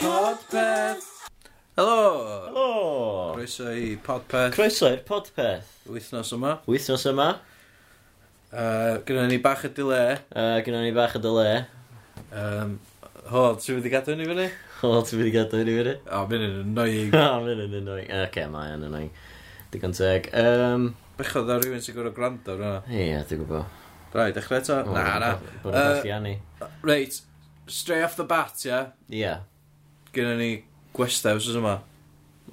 Podpeth! Helo! O! Croeso i Podpeth Croeso i'r podpeth. wythnos yma. Wythnos yma, Uh, Gynna ni bach y dile. uh, gyda ni bach o dyle. Um, Hod, ti'n wedi gadw ni fyny? O, ti'n wedi gadw i ni fyny? O, oh, mynd yn annoying. O, mae'n yn annoying. Ok, mae'n annoying. Digon teg. Um, Bechodd ar rhywun sy'n gwrdd o gwrando ar hwnna. Ie, dwi'n gwybod. Rai, dechrau eto? O, Na, na. Bod yn gallu Yy, anu. Reit, straight off the bat, ia. Yeah. Ie. Gynna ni gwestau wrth yma.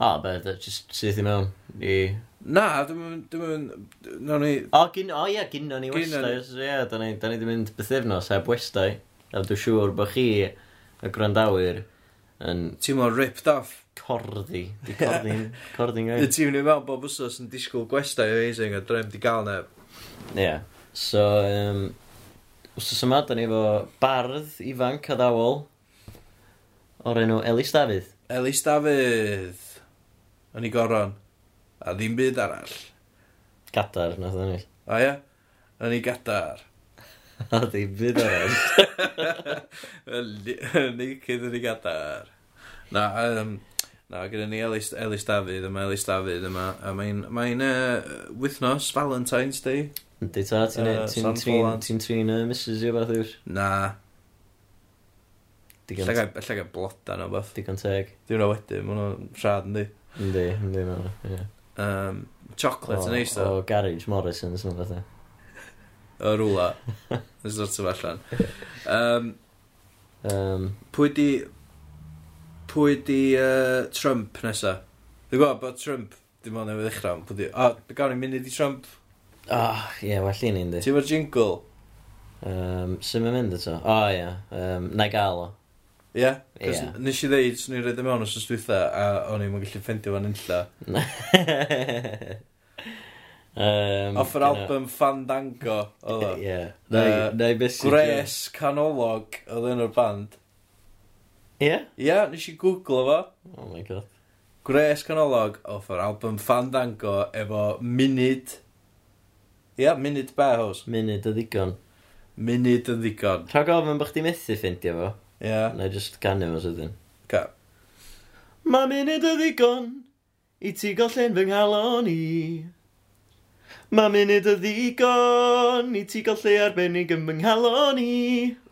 O, beth, just syth i mewn. I... Na, dim yn... Dim yn... Nawn ni... O, gyn, o ie, gynno ni Gynno ni. westau. so Ie, da ni da ni wedi mynd bythefnos heb westau. A dwi'n siŵr bod chi, y gwrandawyr, yn Teimlo ripped off. cordi. Di cordi'n... Cordi'n Y gael. tîm ni mewn bob wsos yn disgwyl gwestau amazing a drem di gael neb. Ie. So, um, wrth yma, da ni efo bardd ifanc a ddawol o'r enw Elis Dafydd. Elis Dafydd yn ei goron a ddim byd arall Gadar, nath o'n ill. a ia yn ei gadar A di byd o'r enw. Nicydd yn ei gadar na um, na gyda ni Elis, Elis Dafydd yma Elis Dafydd yma a mae'n mae uh, wythnos Valentine's Day Yndi ta, ti'n Yy, ti'n Sam trin, Folan. ti'n trin y Mrs i o beth yw'r. na Digon, llaga llaga blodan o beth digon teg. dwi'n rhaid wedyn mae nhw'n rhad yn di Yndi, yndi ma. ie. um, chocolate yn eis o O Garage Morrison's e. nhw beth o rwla yn sort of allan um, Um, Pwy di... Pwy di uh, Trump nesa? Dwi'n gwybod bod Trump dim ond newydd ddechrau, ond pwy di... O, oh, gawn ni munud i Trump. oh, ie, well i ni yndi. Ti'n fawr jingle? Um, Sym yn mynd eto? O, ie. Um, na i gael o. Ie? Yeah? Cos Ie. Nes i ddeud, swn i'n rhaid y mewn os oes dwytha, a o'n i'n gallu ffendio fan unlla. um, Off yr dyna- album Fandango, oedd o. Ie. Yy, Neu beth Gres Canolog, oedd enw'r band. Ie? Ie, yeah, nes i google fo. Oh my god. Gres Canolog, off yr album Fandango, efo munud... Ie, yeah, munud be, hos. Munud o ddigon. Munud yn ddigon. Rhaid gofyn bych di methu ffindio fo. Ie. Yeah. Neu just canu fo sydyn. Ca. Mae munud o ddigon i ti gollen fy nghalon i. Mae munud o ddigon i ti gollu arbennig yn fy nghalon i.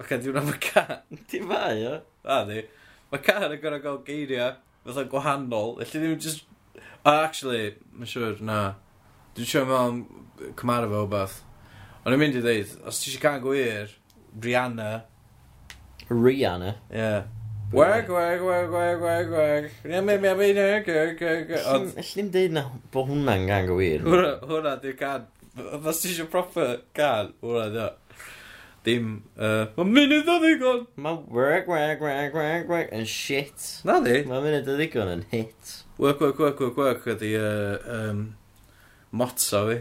Ac di wna mae car. Ti fai o? A di. Mae car yn gorau gael geiriau fatha gwahanol. Felly ddim just... A actually, mae'n siŵr, na. Dwi'n siŵr mewn cymara fe o beth. Ond i'n mynd i ddeud, os ti eisiau can gwir, Rihanna, Rihanna. ie. Yeah. Wag, wag, wag, wag, wag, wag. Rihanna, mi, mi, mi, mi, mi, mi, mi. Ond Llym llym deud na bod hwnna'n gang o wir. hwnna, hwnna di'r can. Os ti eisiau proper can, hwnna di o. Dim, uh, mae'n munud o ddigon. Mae work, work, work, work, work, yn shit. Na di. Mae munud o ddigon yn hit. Work, work, work, work, work ydi uh, um, motto fi.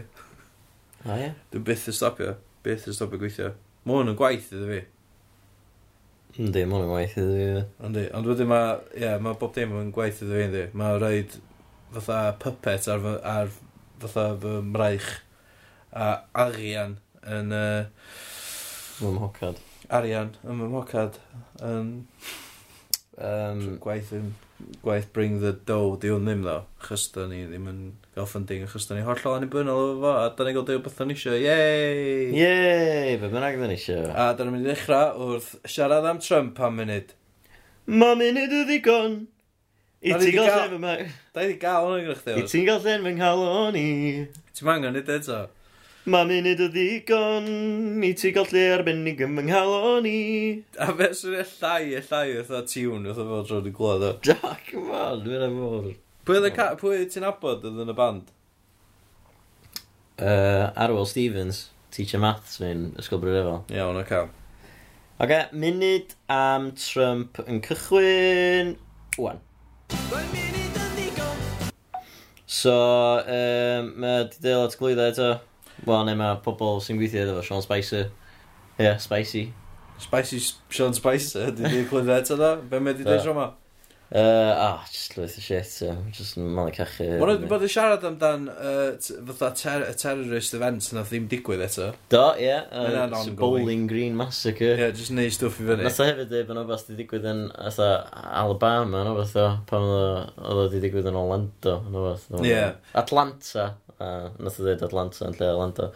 O ie? Dwi byth yn stopio. Byth yn stopio gweithio. Mae hwn yn gwaith iddo fi. Yndi, mae hwnna'n gwaith iddo fi. ie. Yndi. Ond wedyn mae, ie, yeah, mae bob dim yn gwaith iddo fi, yndi. Mae rhaid fatha puppet ar, fy- ar fatha fy mraich. A arian yn... Uh, Mae'n hocad. arian yn fy mocad. Yn Um, gwaith yn... Gwaith bring the dough, di hwn ddim ddo. Chos da ni ddim yn gael funding, chos da ni hollol annibynnol o fo, a da ni'n gael dew beth da ni eisiau. Yay! Yey, be mae'n agdyn eisiau. A dyna mynd i ddechrau wrth siarad am Trump am munud. Mae munud o ddigon. I Da ni ti'n di gael gael- llen fy ma- Da i di gael hwnna gyda chdi. I Oes? ti'n gael llen fy nghalon i. Ti'n mangan i ddeud o? Mae munud o ddigon. I ti'n gael llen arbennig yn fy nghalon i. A fe sy'n y llai, y llai wrth o tiwn wrth o fel drod i glod o. Jack, man, dwi'n fawr. Pwy oedd y ca- pwy ti'n abod oedd yn y band? Uh, Arwel Stevens, teacher maths fi'n ysgol brydefol. Iawn, o cam. Ok, munud am Trump yn cychwyn... Wan. So, um, mae Diddale at glwyddo eto. Wel, neu mae pobl sy'n gweithio iddo fo, Sean Spicer. Ie, yeah, Spicy. Spicy S- Sean Spicer, di di clywed eto da? Be mae di Da. dweud rhywma? Uh, ah, just lwyth o shit, ie. Just yn malu cachu. Mae'n rhaid bod yn siarad amdan yy, t- fatha ter y terrorist event na ddim digwydd eto. Do, ie. Mae'n Yeah, ongoing. Bowling Green Massacre. Ie, jyst neud stwff i fyny. Nes o hefyd dweud bod nhw di digwydd yn atha Alabama, no fath o, pan oedd o- oedd o di digwydd yn Orlando, no fath. no? Ie. Atlanta, a nes o dweud Atlanta yn lle Orlando.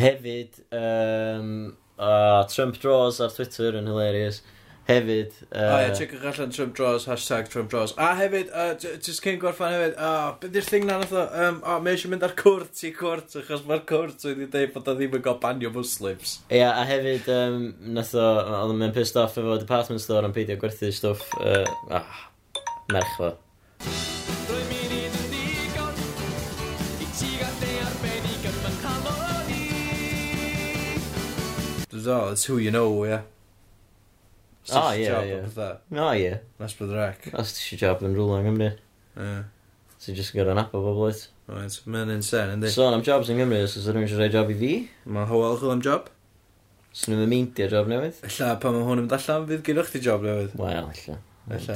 Hefyd, um, uh, Trump draws ar Twitter yn hilarious. Hefyd, O ie, uh, checkwch allan Trump Draws, hashtag Trump Draws. A hefyd, uh, j- jyst cyn gorffan hefyd, o, oh, beth yw'r thing na nath o, um, o, oh, mae eisiau mynd ar cwrt i cwrt, achos mae'r cwrt wedi dweud bod o ddim yn gael banio Muslims. ia, a hefyd, um, nes o, oedd o'n pissed off efo department store yn peidio gwerthu stwff, uh, ah, merch fo. Rwy'n mynd i'n ddigon I ti gael ei arbennig yn fy nghalon i Dwi'n dweud, that's who you know, ie. O, ie, ie. O, ie, Nes bydd rec. os ti eisiau job yn rhywle yng Nghymru, Ie. ti'n just gyda'n nabo bobl wyt. Right, mae'n insane, yndi. Sôn am jobs yng Nghymru, os oes rhywun eisiau rhoi job i fi, Mae Howell chwil am job. os nhw'n meindio job newydd. Ella, pan mae hwn yn mynd allan, fydd gynnwch ti job newydd. Wel, illa. Ella.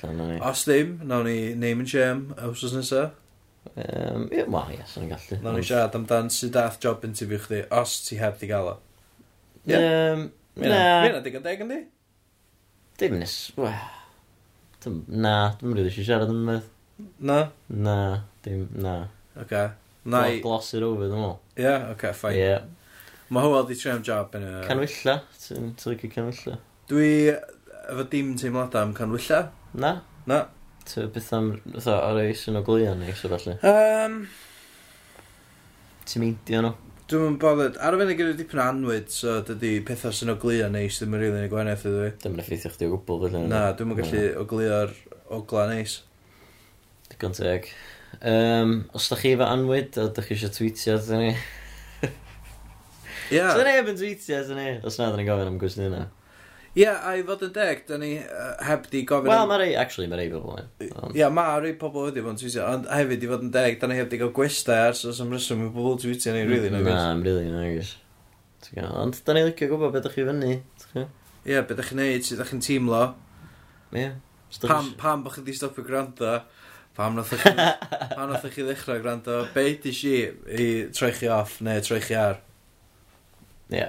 Illa na ni. Os ddim, nawn ni name and shame, os os nesaf. Um, ie, wel, ie, sôn yn gallu. Nawn ni siarad amdan sydd dath job interview chdi, os ti heb di gael o. Ie. Um, Mae'n na, digon deg yndi? dim nes, wel. Dim- Na, dim rili eisiau siarad am beth. Na? Na, dim, na. Oce. Na i... Gloss it over, dim ol. Ie, oce, ffain. Ie. Mae Howell di treu am job yn y... Canwylla, ti'n ti'n licio canwylla? Dwi efo dim teimladau am canwylla. Na? Na. Ti'n beth am, fatha, ar eis yn o glian neu eisiau falle. Um, Ti'n meindio nhw? Dwi'n yn bothered. Ar y fynd i gyda dipyn o anwyd, so dydy pethau sy'n oglio neis ddim yn rili yn y gwahaniaeth iddo fi. Dim yn effeithio chdi o gwbl, felly. Na, dwi'n yn gallu Mm. oglio'r ogla neis. Digon teg. Um, os da chi efo anwyd, a da chi eisiau tweetio atyn ni. Ia, Os da ni efo tweetio atyn ni. Os na, da ni'n gofyn am gwestiwn yna. ia, a i fod yn deg, da ni uh, heb di gofyn... Wel, am- mae rei, actually, mae rei bobl yn. Ond- Ia, mae rei pobl wedi bod yn tweetio, ond hefyd i fod yn deg, da ni heb di gael gwestai ar sos am rheswm i bobl tweetio ni, really, Mm, Na, na. am rili, nagus. Ti'n gwbod, Ond da ni'n licio gwybod beth da chi fyny. ti'n gwbod? Ia, beth ydych chi'n neud, sut ydych chi'n teimlo, Ie. Os dach chi pam, isio- pam bych chi di stopio gwrando, pam nath chi, pam nath chi ddechrau gwrando, be di si i troi chi off, neu troi chi ar. Ie. Ia.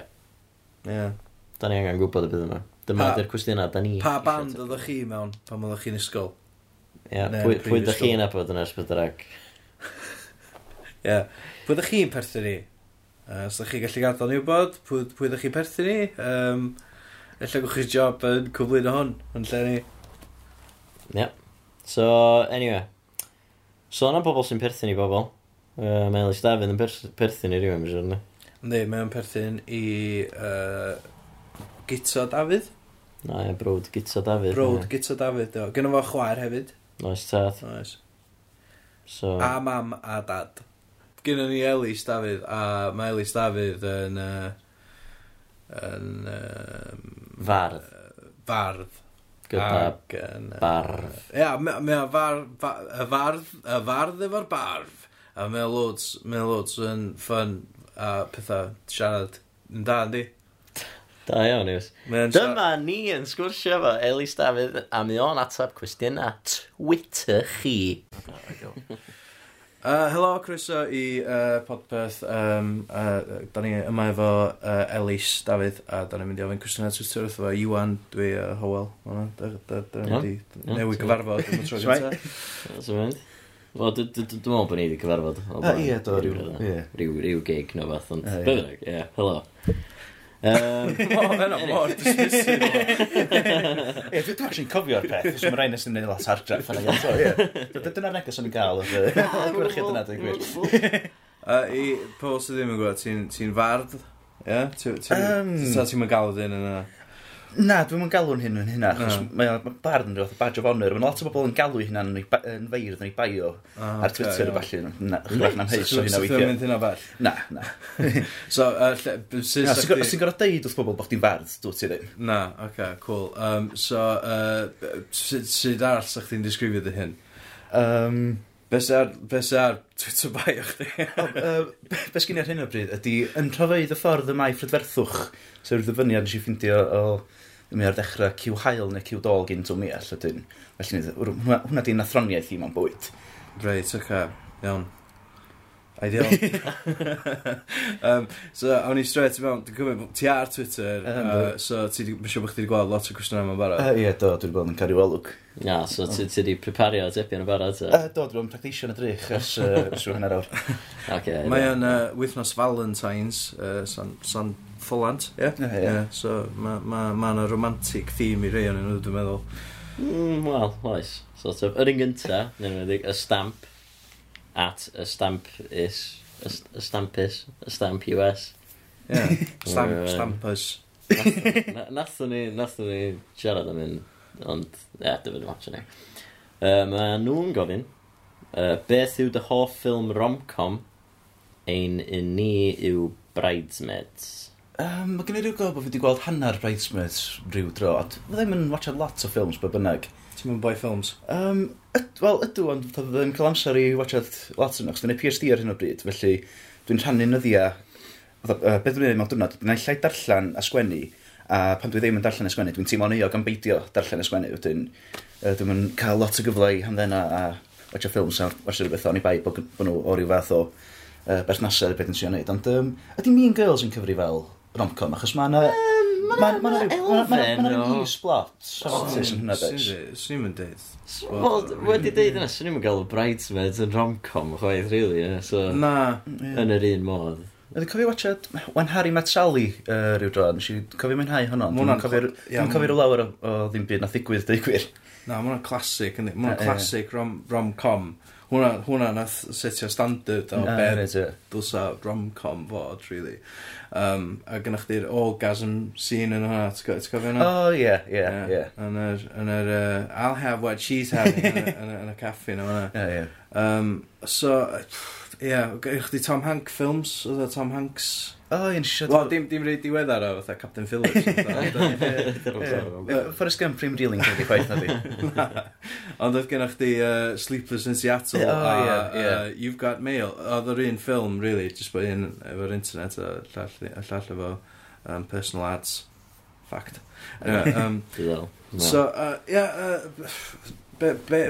Yeah. Da ni angen gwybod y beth yma. Dyma Pa- ydy'r cwestiwn yna, da ni. Pa isio band ateb. oeddech chi mewn pan oeddech chi'n ysgol? Ie, neu pwy- pwy previous da chi school? yna bod yn ysbydrag? Ie. Yeah. Pwy ydych chi'n perthyn ni? Uh, os ydych chi'n gallu gadael ni wybod, pwy, pwy ydych chi'n perthyn ni? Um, Ella gwch chi'r job yn cyflwyno hwn, yn lle ni. So, anyway. So, yna bobl sy'n perthyn i bobl. Uh, mae Elis Dafydd yn pers- perthyn i rywun, mae'n siwr. Ynddi, mae'n perthyn i uh, Gito Dafydd. Na, ie, brod Gita Dafydd. Brod Gito Dafydd. o. Gynno fo chwaer hefyd. Oes tad. Oes. So, A mam a dad. Gynno ni Elis Dafydd, a mae Elis Dafydd yn... Uh, yn uh, fardd. fardd. Gyda ac yn, yy, bardd. Ia, mae mae o far, fa- y fardd, y fardd efo'r barf. A mae o loads, mae o loads yn ffyn a pethau siarad yn da, yndi? Da iawn, Iws. Mae o'n siarad- Dyma ni yn sgwrsio fo Elis Dafydd a mi o'n atab cwestiynau Twitter chi. Uh, helo, croeso i uh, Podpeth. Um, uh, da ni yma efo uh, Elis Dafydd a da ni'n mynd i ofyn cwestiynau Twitter wrth efo Iwan, dwi uh, Howell. Ona, Da, da, da, Iawn. da, di, Iawn, newy ti'n- gyfarfod yn y tro Shwmae? gyntaf. Sy'n mynd? Wel, dw- dw- dw- dwi'n meddwl bod ni wedi cyfarfod. o Ah, blaen. ie, do, ryw- ie. Ryw ryw gig neu beth, ond... Ah, ie. Be bynnag, Ie, helo. Yym, O, fe na mor dismissive. Ie, dwi dwi'n actually'n cofio'r peth, os mae'n rhaid nes i'n neud lot hardraff yna iawn, so ie. Dy- Dyna'r neges o'n i gael, oedd y gwerchiad yna, dwi'n gwir. Uh, I pobl sydd ddim yn gwybod, ti'n ti fardd? Ie? Ti'n um, Yym. ti galw dyn yna? Na, dwi'n mynd galw'n hyn yn hynna, achos Na. mae o'n barn yn rhywbeth o badge of honour. Mae'n lot o bobl yn galw hynna'n yn feirdd yn ei bio ar Ah, ocê, Twitter a ie. falle. Na, chwbach na'n heis o hynna Sut dwi'n weithiau. mynd hynna bell? Na, na. So, uh, lle, Na, b- sut Os ti'n sa'ch gor- os ti'n gorfod deud wrth bobl bod chdi'n fardd, dwi'n ti ddim. Na, oce, cool. Um, so, uh, b- sut sut arall sa'ch ti'n disgrifio dy hyn? Um, Be sy ar, be sy ar Twitter bio chdi? uh, be sgyn i ar hyn o bryd ydy yn rhofeidd y ffordd y mae Fredferthwch, sef yw'r ddyfyniad nes i ffeindio o mi ar ddechrau cyw hael neu cyw dol gyn Tommy all ydyn. Felly ni- hwnna- hwnna di'n athroniaeth i mewn bywyd. Reit, oce, iawn. Ideal. um, so, awn ni straight i mewn, dwi'n cymryd, ti ar Twitter, Yym, uh, dwi. so ti, mae'n siŵr bod chdi wedi gweld lot o cwestiynau yma'n barod. Yy, Ie, do, dwi wedi bod yn cario welwg. Na, so ti ti di prepario tepion y barod? Yy, ta? Do, dwi wedi bod yn practisio yn y drych ers yy, ers rhyw hanner awr. Oce. Mae o'n uh, wythnos Valentines, uh, San, San Folant, ie? Ie, Ie, ie. So, mae ma, ma yna romantic theme i rei o'n nhw, dwi'n meddwl. Mm, Wel, oes. Sort of. Yr un gynta, nyn nhw'n y stamp. At y stamp is. Y st- y stamp is. Y stamp US. Ie, stamp, Alright. stampers. Na- Nathon ni, nathon ni siarad am hyn, ond, e, dyfod yn watch ni. Uh, Mae nhw'n gofyn, uh, beth yw dy hoff ffilm rom-com ein un ni yw Bridesmaids? Um, mae gen i ryw gof bod fi wedi gweld hanner Bridesmaids rhyw dro, a dwi ddim yn watchad lot o ffilms be bynnag. Ti'n mynd boi ffilms? Um, yd, Wel, ydw, ond dwi ddim cael amser i watchad lot o'n nhw, chos dwi'n ei PhD ar hyn o bryd, felly dwi'n rhannu nyddiau. Uh, beth dwi'n ei mewn diwrnod, dwi'n allai darllen a sgwennu, a pan dwi ddim yn darllen a sgwennu, dwi'n teimlo'n euog am beidio darllen a sgwennu, wedyn uh, dwi'n cael lot o gyfle i hamddenna a watcha ffilms a watcha rhywbeth o'n i bai bod bod nhw o ryw fath o uh, berthnasau beth yn siŵr wneud, ond um, ydy Mean Girls yn cyfri fel rom-com, achos mae yna... Mae yna elfen o- is blot. Sy'n hynna, beth. Swn i'n dweud. Wel, wedi deud yna, swn i'n gael y Bridesmaids yn rom-com chwaith, really, yeah, so, Na, yn yr un modd. Ydy cofio watchad When Harry Met Sally uh, rhyw dro, nes i cofio mwynhau honno, Ma' ond hwnna'n dwi'n cofio- cl- ie, dwi'm yn ma' cofio rhyw lawer o, o ddim byd na ddigwydd dweud gwir. Na, mae hwnna'n classic, yndi? Mae Ie, hwnna'n ie. classic rom- rom-com. Hwna, hwna nath setio standard o Na, be reit, ie. dylsa rom-com fod, really. Um, a gynnwch chi'r orgasm scene yn hwnna, ti'n co- ti'n cofio hwnna? O ie, ie, Ie, ie. Yn yr, yn yr, uh, I'll have what she's having yn y- yn y- yn y caffi na hwnna. Ie, ie. Um, so, pff, ie, yeah, gwych chi Tom Hanks films, oedd o Tom Hanks. O ie, nes i Wel, dim, dim rei diweddar o, fatha Captain Phillips. fatha. siarad... Forrest Gump prim reeling gyda'i chwaith na fi. Ond oedd gennych chi uh, Sleepless in Seattle Ie, o, a ie, ie. uh, You've Got Mail. Oedd yr un ffilm, really, just bod un efo'r internet a llall, a llall efo um, personal ads. Fact. Anyway, um, Diddorol. so, uh, yeah, uh, be, be,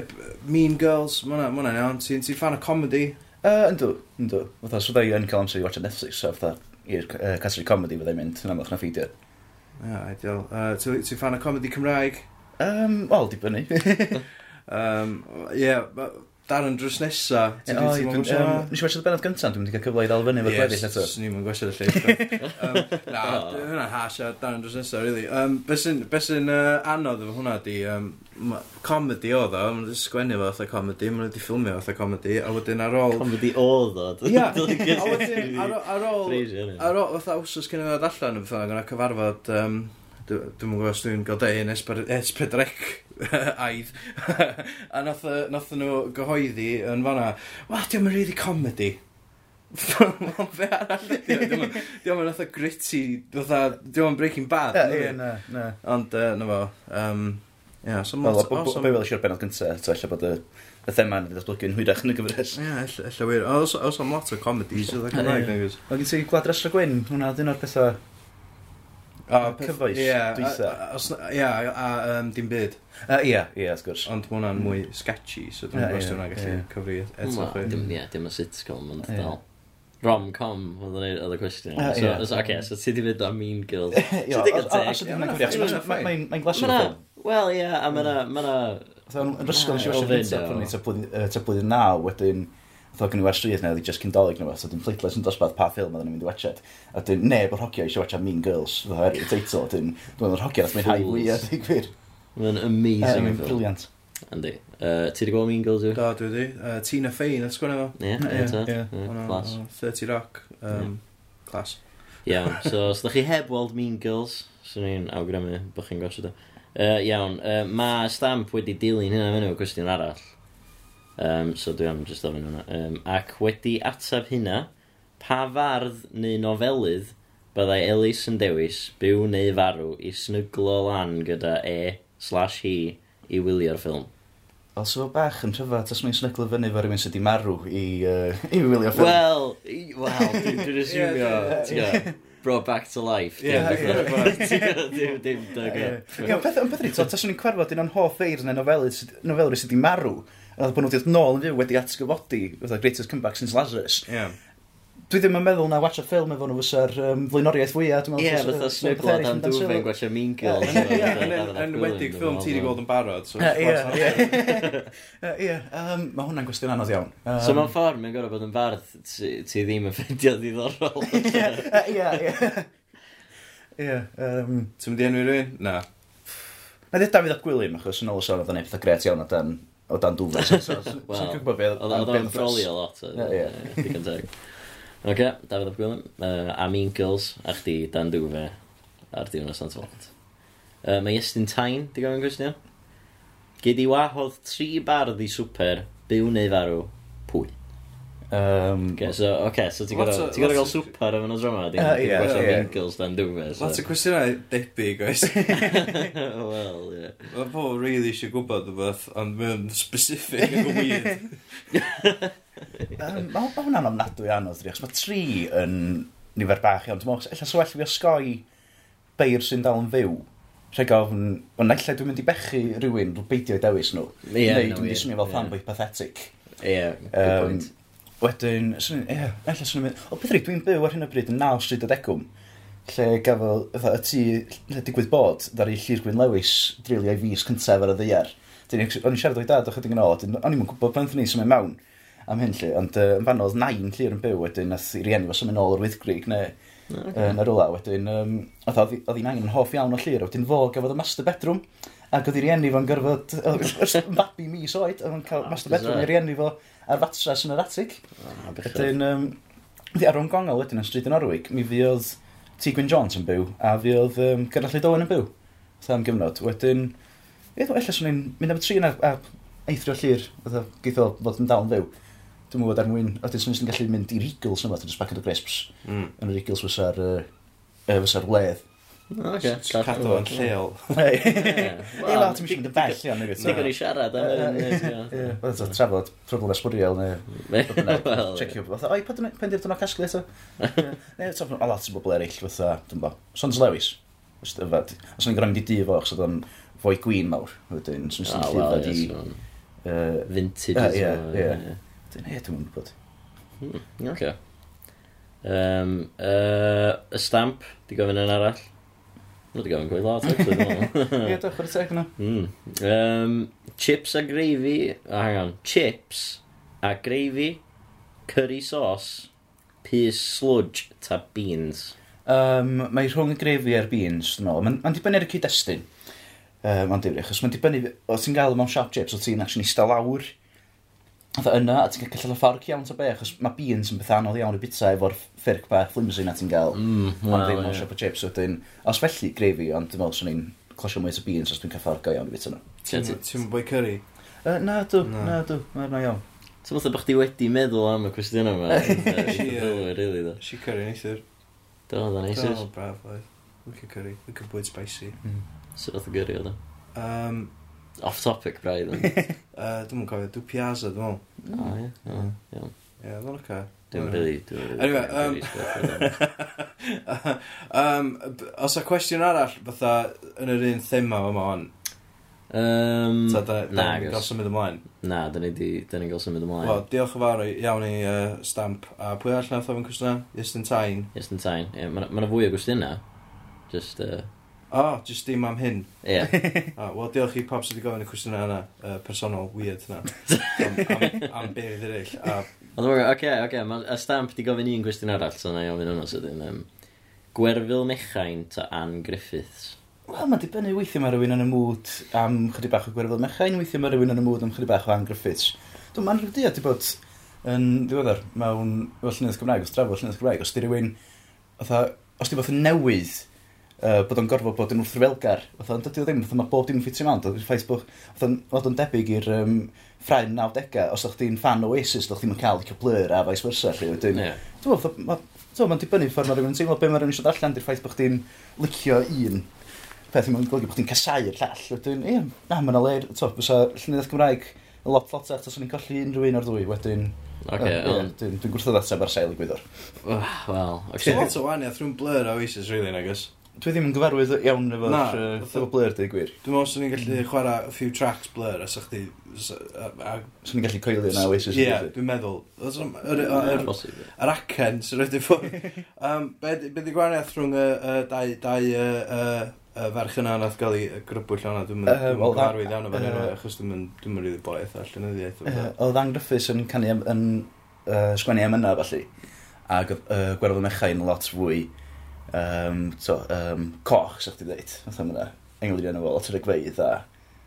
Mean Girls, ma' hwnna- ma' hwnna'n iawn. Ti'n ti fan o comedy? Yy, Yndw, yndw. Fytha, so dda i yn cael amser i watchad Netflix, so fytha, i'r yy, category comedy fyddai'n mynd, yn amlwch na ffeidio. Yeah, ideal. Uh, Ti'n ti fan o comedy Cymraeg? Um, Wel, di bynnu. Um, yeah, ma- Darren drws nesa. Ti'n O, ti'n ie, teimlo'n dwi'n- gwasio hwnna? yym, Nes i watchad y bennod gyntaf, dwi'n mynd i cael cyfle i ddal fyny efo'r gweddill eto. Yes, ni'n gwestiwn y lleill. um, na, d- hwnna'n hash a dan yn drws nesaf, really. Um, be sy'n be sy'n, uh, anodd efo hwnna di, um, ma- comedy oedd o, maen nhw wedi sgwennu fo fatha comedy, maen nhw wedi ffilmio fatha comedy, a wedyn ar ôl... Comedy oedd o. Ia, a wedyn ar o- ar ôl... ôl... Ar ôl, fatha wsos cyn i ddod allan yn fatha, gyda cyfarfod, um, dw- dwi'm yn gwybod os dwi'n gael deu yn esbyd- esbydrec aidd. a nath, y- nath nhw gyhoeddi yn fanna, wa, diolch yn really comedy. Wel, be arall ydi o, diolch yn fatha gritty, diolch yn breaking bad. Ie, nadi? ie, na, na. Ond, yy, na fo, um, Ie, so Wel, lot- bo- awesome. bo- be welais i'r bennod gyntaf, to efallai bod y, y thema yn datblygu'n hwyrach yn y gyfres. Ie, ell- ella wir. Oes am lot o comedies, oedd y Cymraeg, nag oes? Mae gen ti Gwlad Restra Gwyn, hwnna dyn o'r pethau... A peth- cyfoes, dwytha. dwytha. Ie, a yym, dim byd. Uh, ie, ie, wrth gwrs. Ond mae hwnna'n mwy sketchy, so dwi'n Ie, gwybod os ie, dwi'n gallu ie. cyfri e- eto chi. Dim, ie, dim y sitcom, ond Ie. dal. Rom-com, oedd yn oedd y cwestiwn. Ah, So, ie. so, okay, so ti di fynd am Mean Girls. Ie, Ti'n os- digon os- os teg. ydyn nhw'n Ie, cyfri, achos ma' hwnna'n ma- ma- fine. mae'n mae'n glasio Mae'na, ffilm. wel, ie, a mae'na, Mm. mae'na... Fatha, Yn ysgol nes i Ma' watch hwnna'n gyntaf, pan o'n i fine. tua blwyddyn- yy, tua blwyddyn naw, wedyn... Ddodd gen i werth stryd neu oedd i just cyndolig neu beth, so dwi'n pleidlais yn dosbarth pa ffilm oedden ni'n mynd i watchad. A dwi'n neb o'r hogia eisiau watchad Mean Girls, ddodd o'r teitl, dwi'n dwi'n o'r hogia nath mwynhau Fools. fwy a dwi'n gwir. Mae'n Ie, amazing Mae'n ffilm. briliant. Yndi. Yy, Ti di gweld Mean Girls yw? e? Da, dwi wedi. Uh, Tina Fey, nes gwneud efo. Ie, Ie, eto. ie. Ie, Hwnna, Class. o 30 Rock. Um, Class. Iawn, so os da chi heb weld Mean Girls, swn i'n awgrymu bod chi'n gosod o. Uh, iawn, uh, mae Stamp wedi dilyn hynna fyny o gwestiwn arall. Um, so dwi am just ofyn hwnna. Um, ac wedi atab hynna, pa fardd neu nofelydd byddai Elis yn dewis byw neu farw i snyglo lan gyda e slash hi i wylio'r ffilm? Wel, so bach yn rhyfedd, os mae'n snyglo fyny fo rywun sydd wedi marw i, uh, i wylio ffilm. Wel, i- wel, dwi'n dwi'n asumio, ti'n gwbod, brought back to life. Ie, Dim- ie, Dim, dim, Ie, dim, Ie, peth yn peth rito, tas o'n i'n cwerfod un o'n hoff eir neu nofeli nofeli sydd wedi marw, a bod nhw wedi dod nôl yn fyw wedi atgyfodi, fatha Greatest Comeback Since Lazarus. Ie. Dwi ddim yn meddwl na watch a ffilm efo nhw fysa'r um, flaenoriaeth fwyaf, dwi'n meddwl. Ie, fysa- fatha fysa rhywbeth sniglad eraill am yn dan dwfyn sylw. gwella mean girl. Ie, Yn- Yn enwedig ffilm ti wedi gweld yn barod, so... Ie, Ie, ie. Ie, yym, mae hwnna'n gwestiwn anodd iawn. Yym, So mewn ffordd, mae'n gorau bod yn fardd ti ti ddim yn ffeindio ddiddorol. Ie, ie, ie. Ie, yym... Ti'n mynd i enw i rywun? Na. Na dda Dafydd ap Gwilym, achos yn ôl y sôn oedd yn eitha gret iawn o dan, o dan dwfas. So, so- Wel, so'n gwybod beth- Oedd oedd beth o'n oedd- brolio lot. oedd- Ie, ie. ie, digon teg. Oce, Dafydd Ap Gwilym, uh, a Mean Girls, a chdi Dan Dwfe, a'r diwrnod Sant Fod. Uh, mae Iestyn Tain, di gofyn gwestiwn? Gyd i wahodd tri bardd i swper, byw neu farw, pwy? Yym, Okay, so, okay, so ti'n Lot gorau o- ti'n gorau lot gael o- swper efo nos drama, di? Yy, Ti'n ie, gwella ie. Mean Girls Dan Dwfe. so- Lot o cwestiynau debyg, oes? Wel, ie. Mae pobl really eisiau gwybod rhywbeth, ond mae'n specific ac yn weird. Yym, Ma' ma' hwnna'n ofnadwy anodd, rhi, achos mae tri yn nifer bach iawn. Dwi'n meddwl, ella sy'n well i fi osgoi beir sy'n dal yn fyw. Rhaid gofn, ond naill dwi'n mynd i bechu rhywun drwy beidio i dewis nhw. Ie, Neu no, dwi'n ie, mynd i swnio fel ie. fanboy pathetic. Ie, good Yym, point. Wedyn, swn i'n- ie, ella swn i'n mynd... O, beth rhaid, dwi'n byw ar hyn o bryd yn naw stryd o degwm, lle gafo fatha, y tŷ lle digwydd bod, ddari Llyr Gwyn Lewis, drilio i fus cyntaf ar y ddeiar. Dyn ni- O'n i'n siarad o'i dad o chydig yn ôl, wedyn o'n i'n gwybod pan ddyn ni symud mewn am hyn lle, ond yy, yn fan oedd nain Llyr yn byw wedyn, nath i rieni fo symud nôl o'r wythgrig neu okay. yn y rwla, wedyn, um, oedd oedd- oedd hi'n angen yn hoff iawn o Llyr, a wedyn fo gafodd y master bedroom, ac oedd i rieni fo'n gyrfod, yn babi mis oed, oedd yn cael Ah, master bedroom i bizarre. rieni fo ar fatsas yn yr atig. Ah, bechod. Wedyn, um, di ar o'n gongol wedyn yn stryd yn Norwich, mi fuodd T. Gwyn Jones yn byw, a fuodd um, Gerallu Dolan yn byw. Tha am gyfnod. Wedyn, ie, ella swn i'n mynd am y tri yna a eithrio llir, oedd o geithio fod yn dal yn fyw. Dwi'n mwyn ar mwyn, oedd yn sy'n gallu mynd i'r Eagles yma, dwi'n sbacod o Grisps. Mm. Yn yr Eagles fysa'r uh, fysa'r wledd. Oce. Cadw o'n lleol. Ei, Wel, lawr, ti'n mynd yn bell, iawn, neu Na. Digon i siarad am hyn. Ie, ie, Ie, Oedd o'n trafod problem esbwriel neu ti'n gwbod. Wel, Checio, fatha, oi, pan dyrdd yna casglu eto? Ie. Neu, to, a lot o bobl eraill, fatha, dwi'n bo. Sons Lewis, os dwi'n fad. Os o'n i'n gwrando i di fo, achos oedd o'n fwy gwyn mawr, wedyn, swn Ah, i'n wel, llyfad ie, i... Uh, so- yy, Vintage. Ie, as ie, well, ie. Dwi'n ei, dwi'n gwybod. ie. Oce. Yym, yy, Y stamp, di gofyn yn arall. Wel, di gofyn gwaith lot, actually, dwi'n meddwl. Ie, dwi'n chwarae teg yna. Mm. Um, chips a gravy. Oh, hang on. Chips a gravy, curry sauce, peas sludge ta beans. Um, mae rhwng y grefi a'r beans, dwi'n meddwl. Ma'n- Ma'n dibynnu ar y cyd-destun. Um, ond dwi'n achos mae'n dibynnu... O ti'n gael o mewn sharp chips, o ti'n actually eistedd lawr. Oedd yna, a ti'n cael y ffordd iawn ta be, achos mae beans yn beth anodd iawn i bita efo'r ffyrc bach flimsy na ti'n gael. Mm, Ond ddim yn siop o chips wedyn. Os felly, grefi, ond dwi'n meddwl swn i'n closio mwy o beans os dwi'n cael go iawn i bit yna. Ti'n ti'n boi curry? Uh, na dw, Na. na dw, na, na iawn. Ti'n meddwl bod chdi wedi meddwl am y cwestiwn yma? Ie. Ie. Rili, do. Si curry neithir. Do, da neisus. Oh, braf, oedd. Licio curry. Licio bwyd spicy. Mm. Sut fath o gyrru o da? Um, Off topic, braidd. O, uh, dwi'n mwyn cofio, dwi'n piazza, dwi'n mwyn. ie. o, iawn. Ie, yeah, dwi'n oce. Dwi'n rili, dwi'n rili. Anyway, um, um, b- os y cwestiwn arall, fatha, yn yr un thema yma hon, Um, ta da, da ni'n gael nagos. symud ymlaen. Na, da ni di- da ni'n gael symud ymlaen. Wel, diolch yn fawr i- iawn i uh, Stamp. A pwy all nath o'n cwestiwn? Iestyn Tain. Just in time. Yeah, mae yna fwy o gwestiynau. Just, uh, O, oh, jyst dim am hyn. yeah. Ah, Wel, diolch i pawb sydd wedi gofyn y cwestiwn yna, uh, personol, weird yna, am, am, am beirdd eraill. A Ond dwi'n oce, oce, mae y stamp di gofyn un gwestiwn arall, so na i ofyn hwnnw sydyn. Um, Gwerfyl Mechain ta Anne Griffiths. Wel, mae'n dibynnu weithio mae rhywun yn y mood am chydig bach o gwerfod mechain, weithio mae rhywun yn y mood am chydig bach o Anne Griffiths. Dwi'n ma'n rhywbeth di bod yn ddiweddar mewn efo llynydd Cymraeg, os drafod llynydd Cymraeg, os di rhywun, otha, os di bod yn newydd, uh, bod o'n gorfod bod yn wrthryfelgar, oedd o'n dydy o ddim, oedd mae bob dim yn ffitio mewn, oedd ffaith bod, oedd o'n debyg i'r um, ffrain 90au, os o'ch ti'n fan Oasis, oedd ddim yn cael licio blur a vice versa, lle wedyn. Ie. Dwi'n meddwl, fatha, ma- t'mo', ma'n dibynnu ffordd mae rhywun yn teimlo be mae rhywun eisiau darllen di'r ffaith bod chdi'n licio un peth ddim yn golygu bod chdi'n casau y llall. Wedyn, ie, na, mae'n oler, to, fysa llynydd Cymraeg lot lot at os o'n i'n colli unrhyw un o'r ddwy, wedyn... Oce, Ie, ond... Dwi'n dwi'n gwrthod ateb ar sail i gwyddo'r. Wel, It's a actually... lot o waniaeth rhwng Blur a Oasis, really, nagus. Dwi ddim yn gyfarwydd iawn efo'r Na, yy, fatha- efo blur, dwi gwir. Dwi'n meddwl sy'n ni'n gallu Mm. chwarae a few tracks Blur, a sa'ch di... sa- a- a- Swn i'n gallu coelio na Oasis. Ie, dwi'n meddwl. Os- yr- yr- yr- Bosib. Yr acen sy'n rhaid i ffwrdd. Um, be di be di gwahaniaeth rhwng y y dau, dau y, y, y ferch yna nath gael ei grybwyll o'na? Dwi'n Yy, wel, mynd na- arwydd iawn o'n yy, hynny, achos dwi'n mynd dwi'n mynd rili boi eitha llenyddiaeth. o Yy, beth. Oedd Anne Griffiths yn canu am- yn uh, sgwennu am yna, falle. Ac oedd uh, gwerfod mechau'n lot fwy um, to, um, coch, sa'ch ti ddeud. Oedd yna englyn efo lot o'r egfeidd a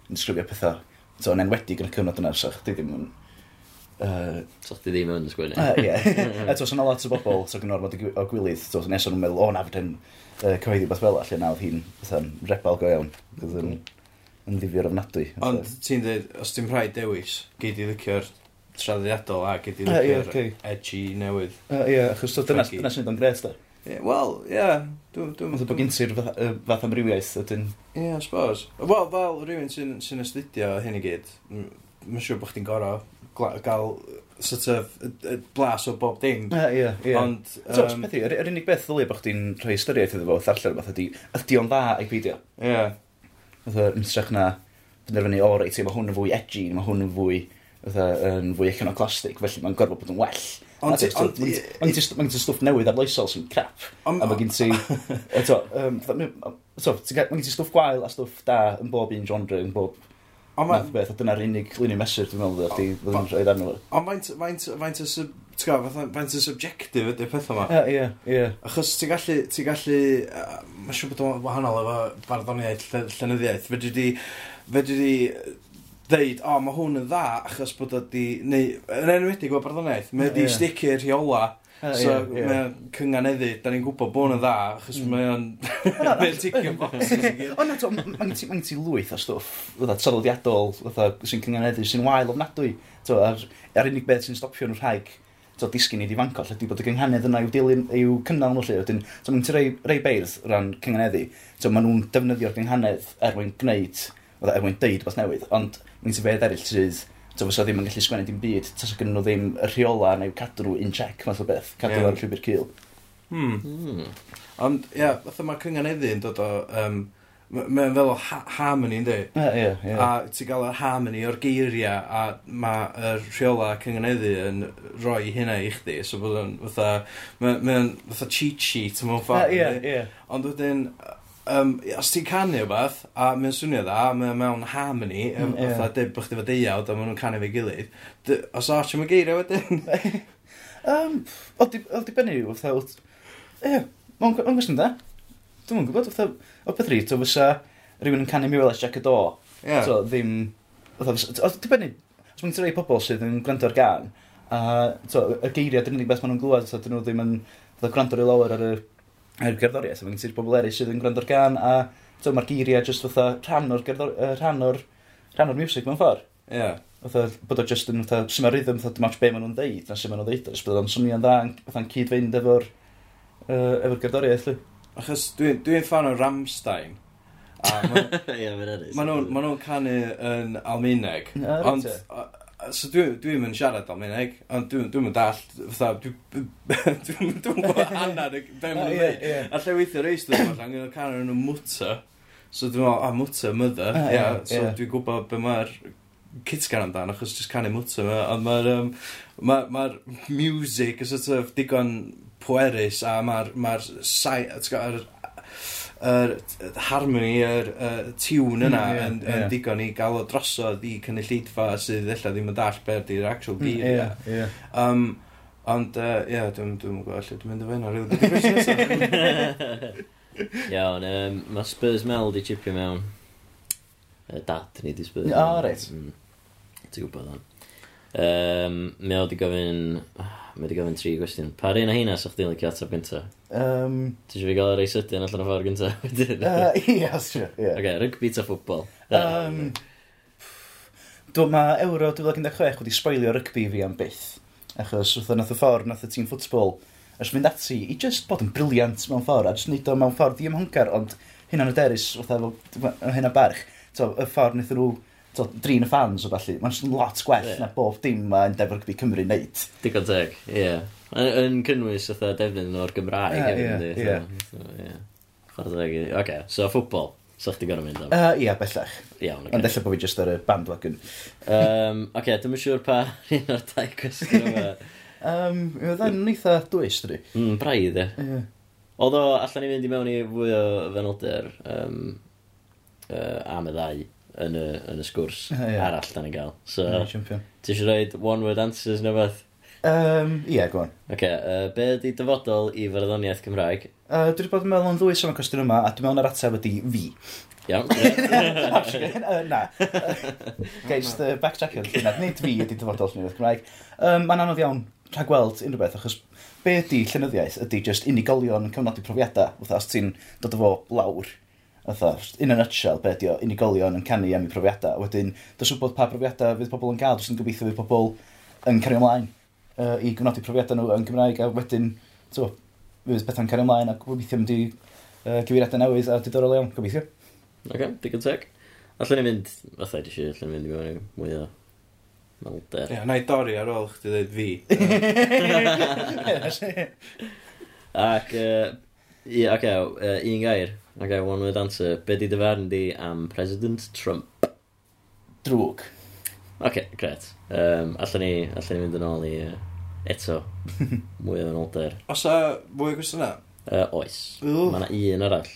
yn disgrifio pethau. To, yn enwedig yn y cyfnod yna, sa'ch ti ddim yn... Uh, So chdi ddim yn sgwini. uh, yeah. Eto, sy'n lot o bobl sy'n gynorfod o gw- o gilydd. To, nes o'n nhw'n meddwl, o na, fyd yn uh, cyhoeddi beth fel allan. Na, oedd hi'n fatha'n rebel go iawn. Oedd yn, yn ddifio'r ofnadwy. fatha. Ond ti'n dweud, os ti'n rhaid dewis, gei di licio'r traddiadol a gei di Yy, ie, licio'r oce. edgy newydd. Yy, Ie, achos to, dyna Funky. dyna sy'n dod yn gres, da. Ie, Wel, ie, dwi'n... Mae'n bod gen ti'r fath- yy, fath amrywiaeth ydyn... Ie, I suppose. Wel, fel rhywun sy'n sy'n astudio hyn i gyd, mae'n siŵr bod chdi'n gorau gla- gael sort of y- y blas o bob dim. Ie, ie, ie. Ond... Ond... Um, yym, beth i, yr, yr unig beth ddylia bod chdi'n rhoi ystyriaeth iddo fo wrth allan rhywbeth ydi, ydi o'n dda a'i peidio. Ie. Fatha, yn strach na, penderfynu, o reit, ie, mae hwn yn fwy edgy, mae hwn yn fwy, fatha, yn fwy iconoclastic, felly mae'n gorfod bod yn well. Ond- Ond, ond- ond, ond, mae'n ti stwff newydd a bloesol sy'n crap. Ond- a mae gen ti, eto, yym, fatha, mi- eto, ti'n ga- mae gen ti stwff gwael a stwff da yn bob un genre, yn bob Ond math ma- o beth, a dyna'r unig luni mesur dwi'n meddwl, dda, chdi ddim yn rhoi arno fo. ond faint- faint faint o sub- ti'n gwbod, fatha, faint o subjective ydy'r peth yma. Ie, ie, ie. Achos ti'n gallu, ti'n gallu, uh, mae'n siŵr bod o'n wahanol efo barddoniaeth, lle- llenyddiaeth. Fedri di, fedri di yy, ddeud, o, mae hwn yn dda, achos bod o di, neu, yn enwedig o barddoniaeth, mae o di Ie. sticio i'r rheola, Ie, so ie. Mm. mae o'n cynganeddu, da ni'n gwybod bod o'n dda, achos mae o'n, mae o'n ticio boxes i gyd. O na, t'o, m- mae'n ti, mae'n ti lwyth o stwff, fatha traddodiadol, fatha sy'n cynganeddu, sy'n wael ofnadwy. T'o, a'r, a'r unig beth sy'n stopio nhw'r rhaeg, t'o, disgyn i di fancall, ydy bod y gynghanedd yna i'w dilyn, i'w cynnal nhw lle. Wedyn, t'o, mae'n ti rei, rei beirdd o ran cynganeddu. T'o, maen nhw'n defnyddio'r gynghanedd er mwyn gwneud, fatha er mwyn deud beth newydd, ond mae'n ti fedd eraill sydd, t'o, fysa ddim yn gallu sgwennu dim byd, tas o gynnu nhw ddim y rheola neu'w cadw nhw in check, math o beth, cadw Ie. nhw ar y llwybr cil. Hmm. Hmm. Ond, ie, yeah, fatha mae cynganeddu yn dod o, um, mae'n fel o ha- harmony, ynddi? Ie, ie, ie. A ti'n gael yr harmony o'r geiriau a mae y rheola cyngeneddu yn rhoi hynna i chdi. So bod o'n fatha, mae'n ma o'n fatha cheat sheet mewn ffordd. Ie, yndi? ie. Ond wedyn, um, os ti'n canu o beth, a mae'n swnio dda, mae'n mewn harmony, mm, Mm, ie. fatha deb bych ti fod deiawd a maen nhw'n canu fe gilydd, dy- os arch am y geiriau wedyn. Um, o, di, o, di benni yw, fatha, wrth... Ie, mae'n gwestiwn da. Dwi'n mwyn gwybod, fatha, o beth rhaid, o fysa rhywun yn canu mi welas Jack y Do. Ie. So, ddim... Fatha, fysa- o, di benni, os mae'n rhai pobl sydd yn gwrando ar gan, a, to, y geiriau, dyn ni'n beth maen nhw'n glwad, so, dyn nhw ddim yn, fatha, gwrando rhy lawer ar y, ar y gerddoriaeth. Mae'n gyda'r bobl eraill sydd yn gwrando ar gan, a, to, mae'r geiriau jyst fatha rhan o'r, gerddor- yy, rhan o'r, rhan o'r music mewn ffordd. Ie. Fatha, bod o just yn fatha, sy'n ma'r rhythm, fatha, dim ots be maen nhw'n deud, na sy'n maen nhw'n deud, os bod o'n swnio'n dda, yn- fatha'n cyd-fynd efo'r, uh, efo'r gerddoriaeth, lwy. Achos dwi'n dwi fan o Ramstein. A ma' Ie, mae'n edrych. Maen nhw'n ma nhw'n canu yn Almaeneg. Na, reit Ond, te. a- a- so dwi'n dwi ddim yn siarad Almaeneg, ond dwi'n dwi dall, fatha, dwi'n dwi dwi'n gwybod anad be maen nhw'n dweud. ie. A lle weithio reis dwi'n meddwl, angen nhw'n canu yn y mwta. So dwi'n meddwl, a mwta, mother. Ah, Ia, ie, so ie. dwi'n gwybod be mae'r citsgan amdan, achos jyst canu mwta yma, ond mae'r um, ma, ma music yn sort of digon pwerus, a mae'r ma sai, ti'n gwbod, yr yr harmony, yr y tune yna Mm, ie, yn, ie. yn digon i gael o drosodd i cynulleidfa sydd ella ddim yn dall be ydy'r actual geiriau. Ie, ie. Um, ond, yy, ie, dwi'n dwi'n gwybod lle dwi'n mynd o fe yna, rili. Be' 'di cwestiwn nesa? Iawn, um, mae Spurs Mel di chipio mewn. Y dad ni di Spurs. O, mewn. reit. Mm. Ti'n gwybod o'n. Um, mi o di gofyn... ah, Mi o di gofyn tri gwestiwn. Pa un o heina sa'ch di'n licio atab gynta? Um, Ti eisiau fi gael yr ei sydyn allan o ffordd gynta? uh, ie, os ti- ie. Oce, rygbi ta ffwbol. Um, Dwi'n ma Euro 2016 wedi spoilio rygbi fi am byth. Achos wrth nath y ffordd, nath y tîm ffwtbol, ys fynd ati i just bod yn briliant mewn ffordd, a just neud o mewn ffordd i ymhongar, ond hynna'n yderus, wrth efo hynna barch. So, y ffordd wnaethon nhw t'od, drin y fans o felly. Mae'n jyst yn lot gwell Ie. na bob dim mae Endeavour Rygbi Cymru wneud. Digon teg, ie. Yn yn cynnwys ytho defnydd o'r Gymraeg. Ie, hefyd, ie, yndi, ie. fatha, ie. Chwarae teg iddi. Oce, so ffwbol. So chdi gorau mynd am. Yy, Ie, bellach. Iawn, Ond oce. efallai bod fi jyst ar y bandwagon. Um, oce, dwi'n yn siŵr pa un o'r dau cwestiwn yma. Um, Mi oedd yn eitha dwys, dwi. Mm, braidd, e. Ie. Oedd o, allan ni fynd i mewn i fwy o fenolder um, uh, am y ddau yn y, yn y sgwrs Ie, ie. arall dan ni gael. So, Ie, champion. ti eisiau rhaid one-word answers neu beth? Yym, Ie, go on. Oce, uh, be ydi dyfodol i farddoniaeth Cymraeg? Yy, Dwi wedi bod yn meddwl yn ddwys am y cwestiwn yma, a dwi'n meddwl na'r ateb ydi fi. Iawn. ie. Actually, yy, Na. Gai just uh, backtrackio. felly na, Nid fi ydi dyfodol llenyddiaeth Cymraeg. Um, Mae'n anodd iawn rhagweld unrhyw beth, achos be ydi llenyddiaeth ydi just unigolion yn cofnodi profiadau. Fytha, os ti'n dod o fo lawr, Fytha, in a nutshell, be ydi o, unigolion yn canu am eu profiadau. Wedyn, dys wbod pa profiadau fydd pobl yn cael, dys yn gobeithio fydd pobl yn cario ymlaen uh, i gofnodi profiadau nhw yn Gymraeg, a wedyn, to, fydd bethau'n cario ymlaen, a gobeithio mynd i uh, gyfeiriadau newydd, a diddorol iawn, gobeithio. Ok, digon teg. Allen ni fynd, fatha di si, allen ni fynd i mewn i mwy o malder. Ie, na i dorri ar ôl chdi dweud fi. Ac, uh, yeah, ok, uh, un gair. Ok, one word answer. Be di dyfarn di am President Trump? Drwg. Ok, gret. Um, allen ni, allen ni fynd yn ôl i uh, eto mwy o malder. Os a mwy gwrs yna? Uh, oes. Ww. Mae yna un arall.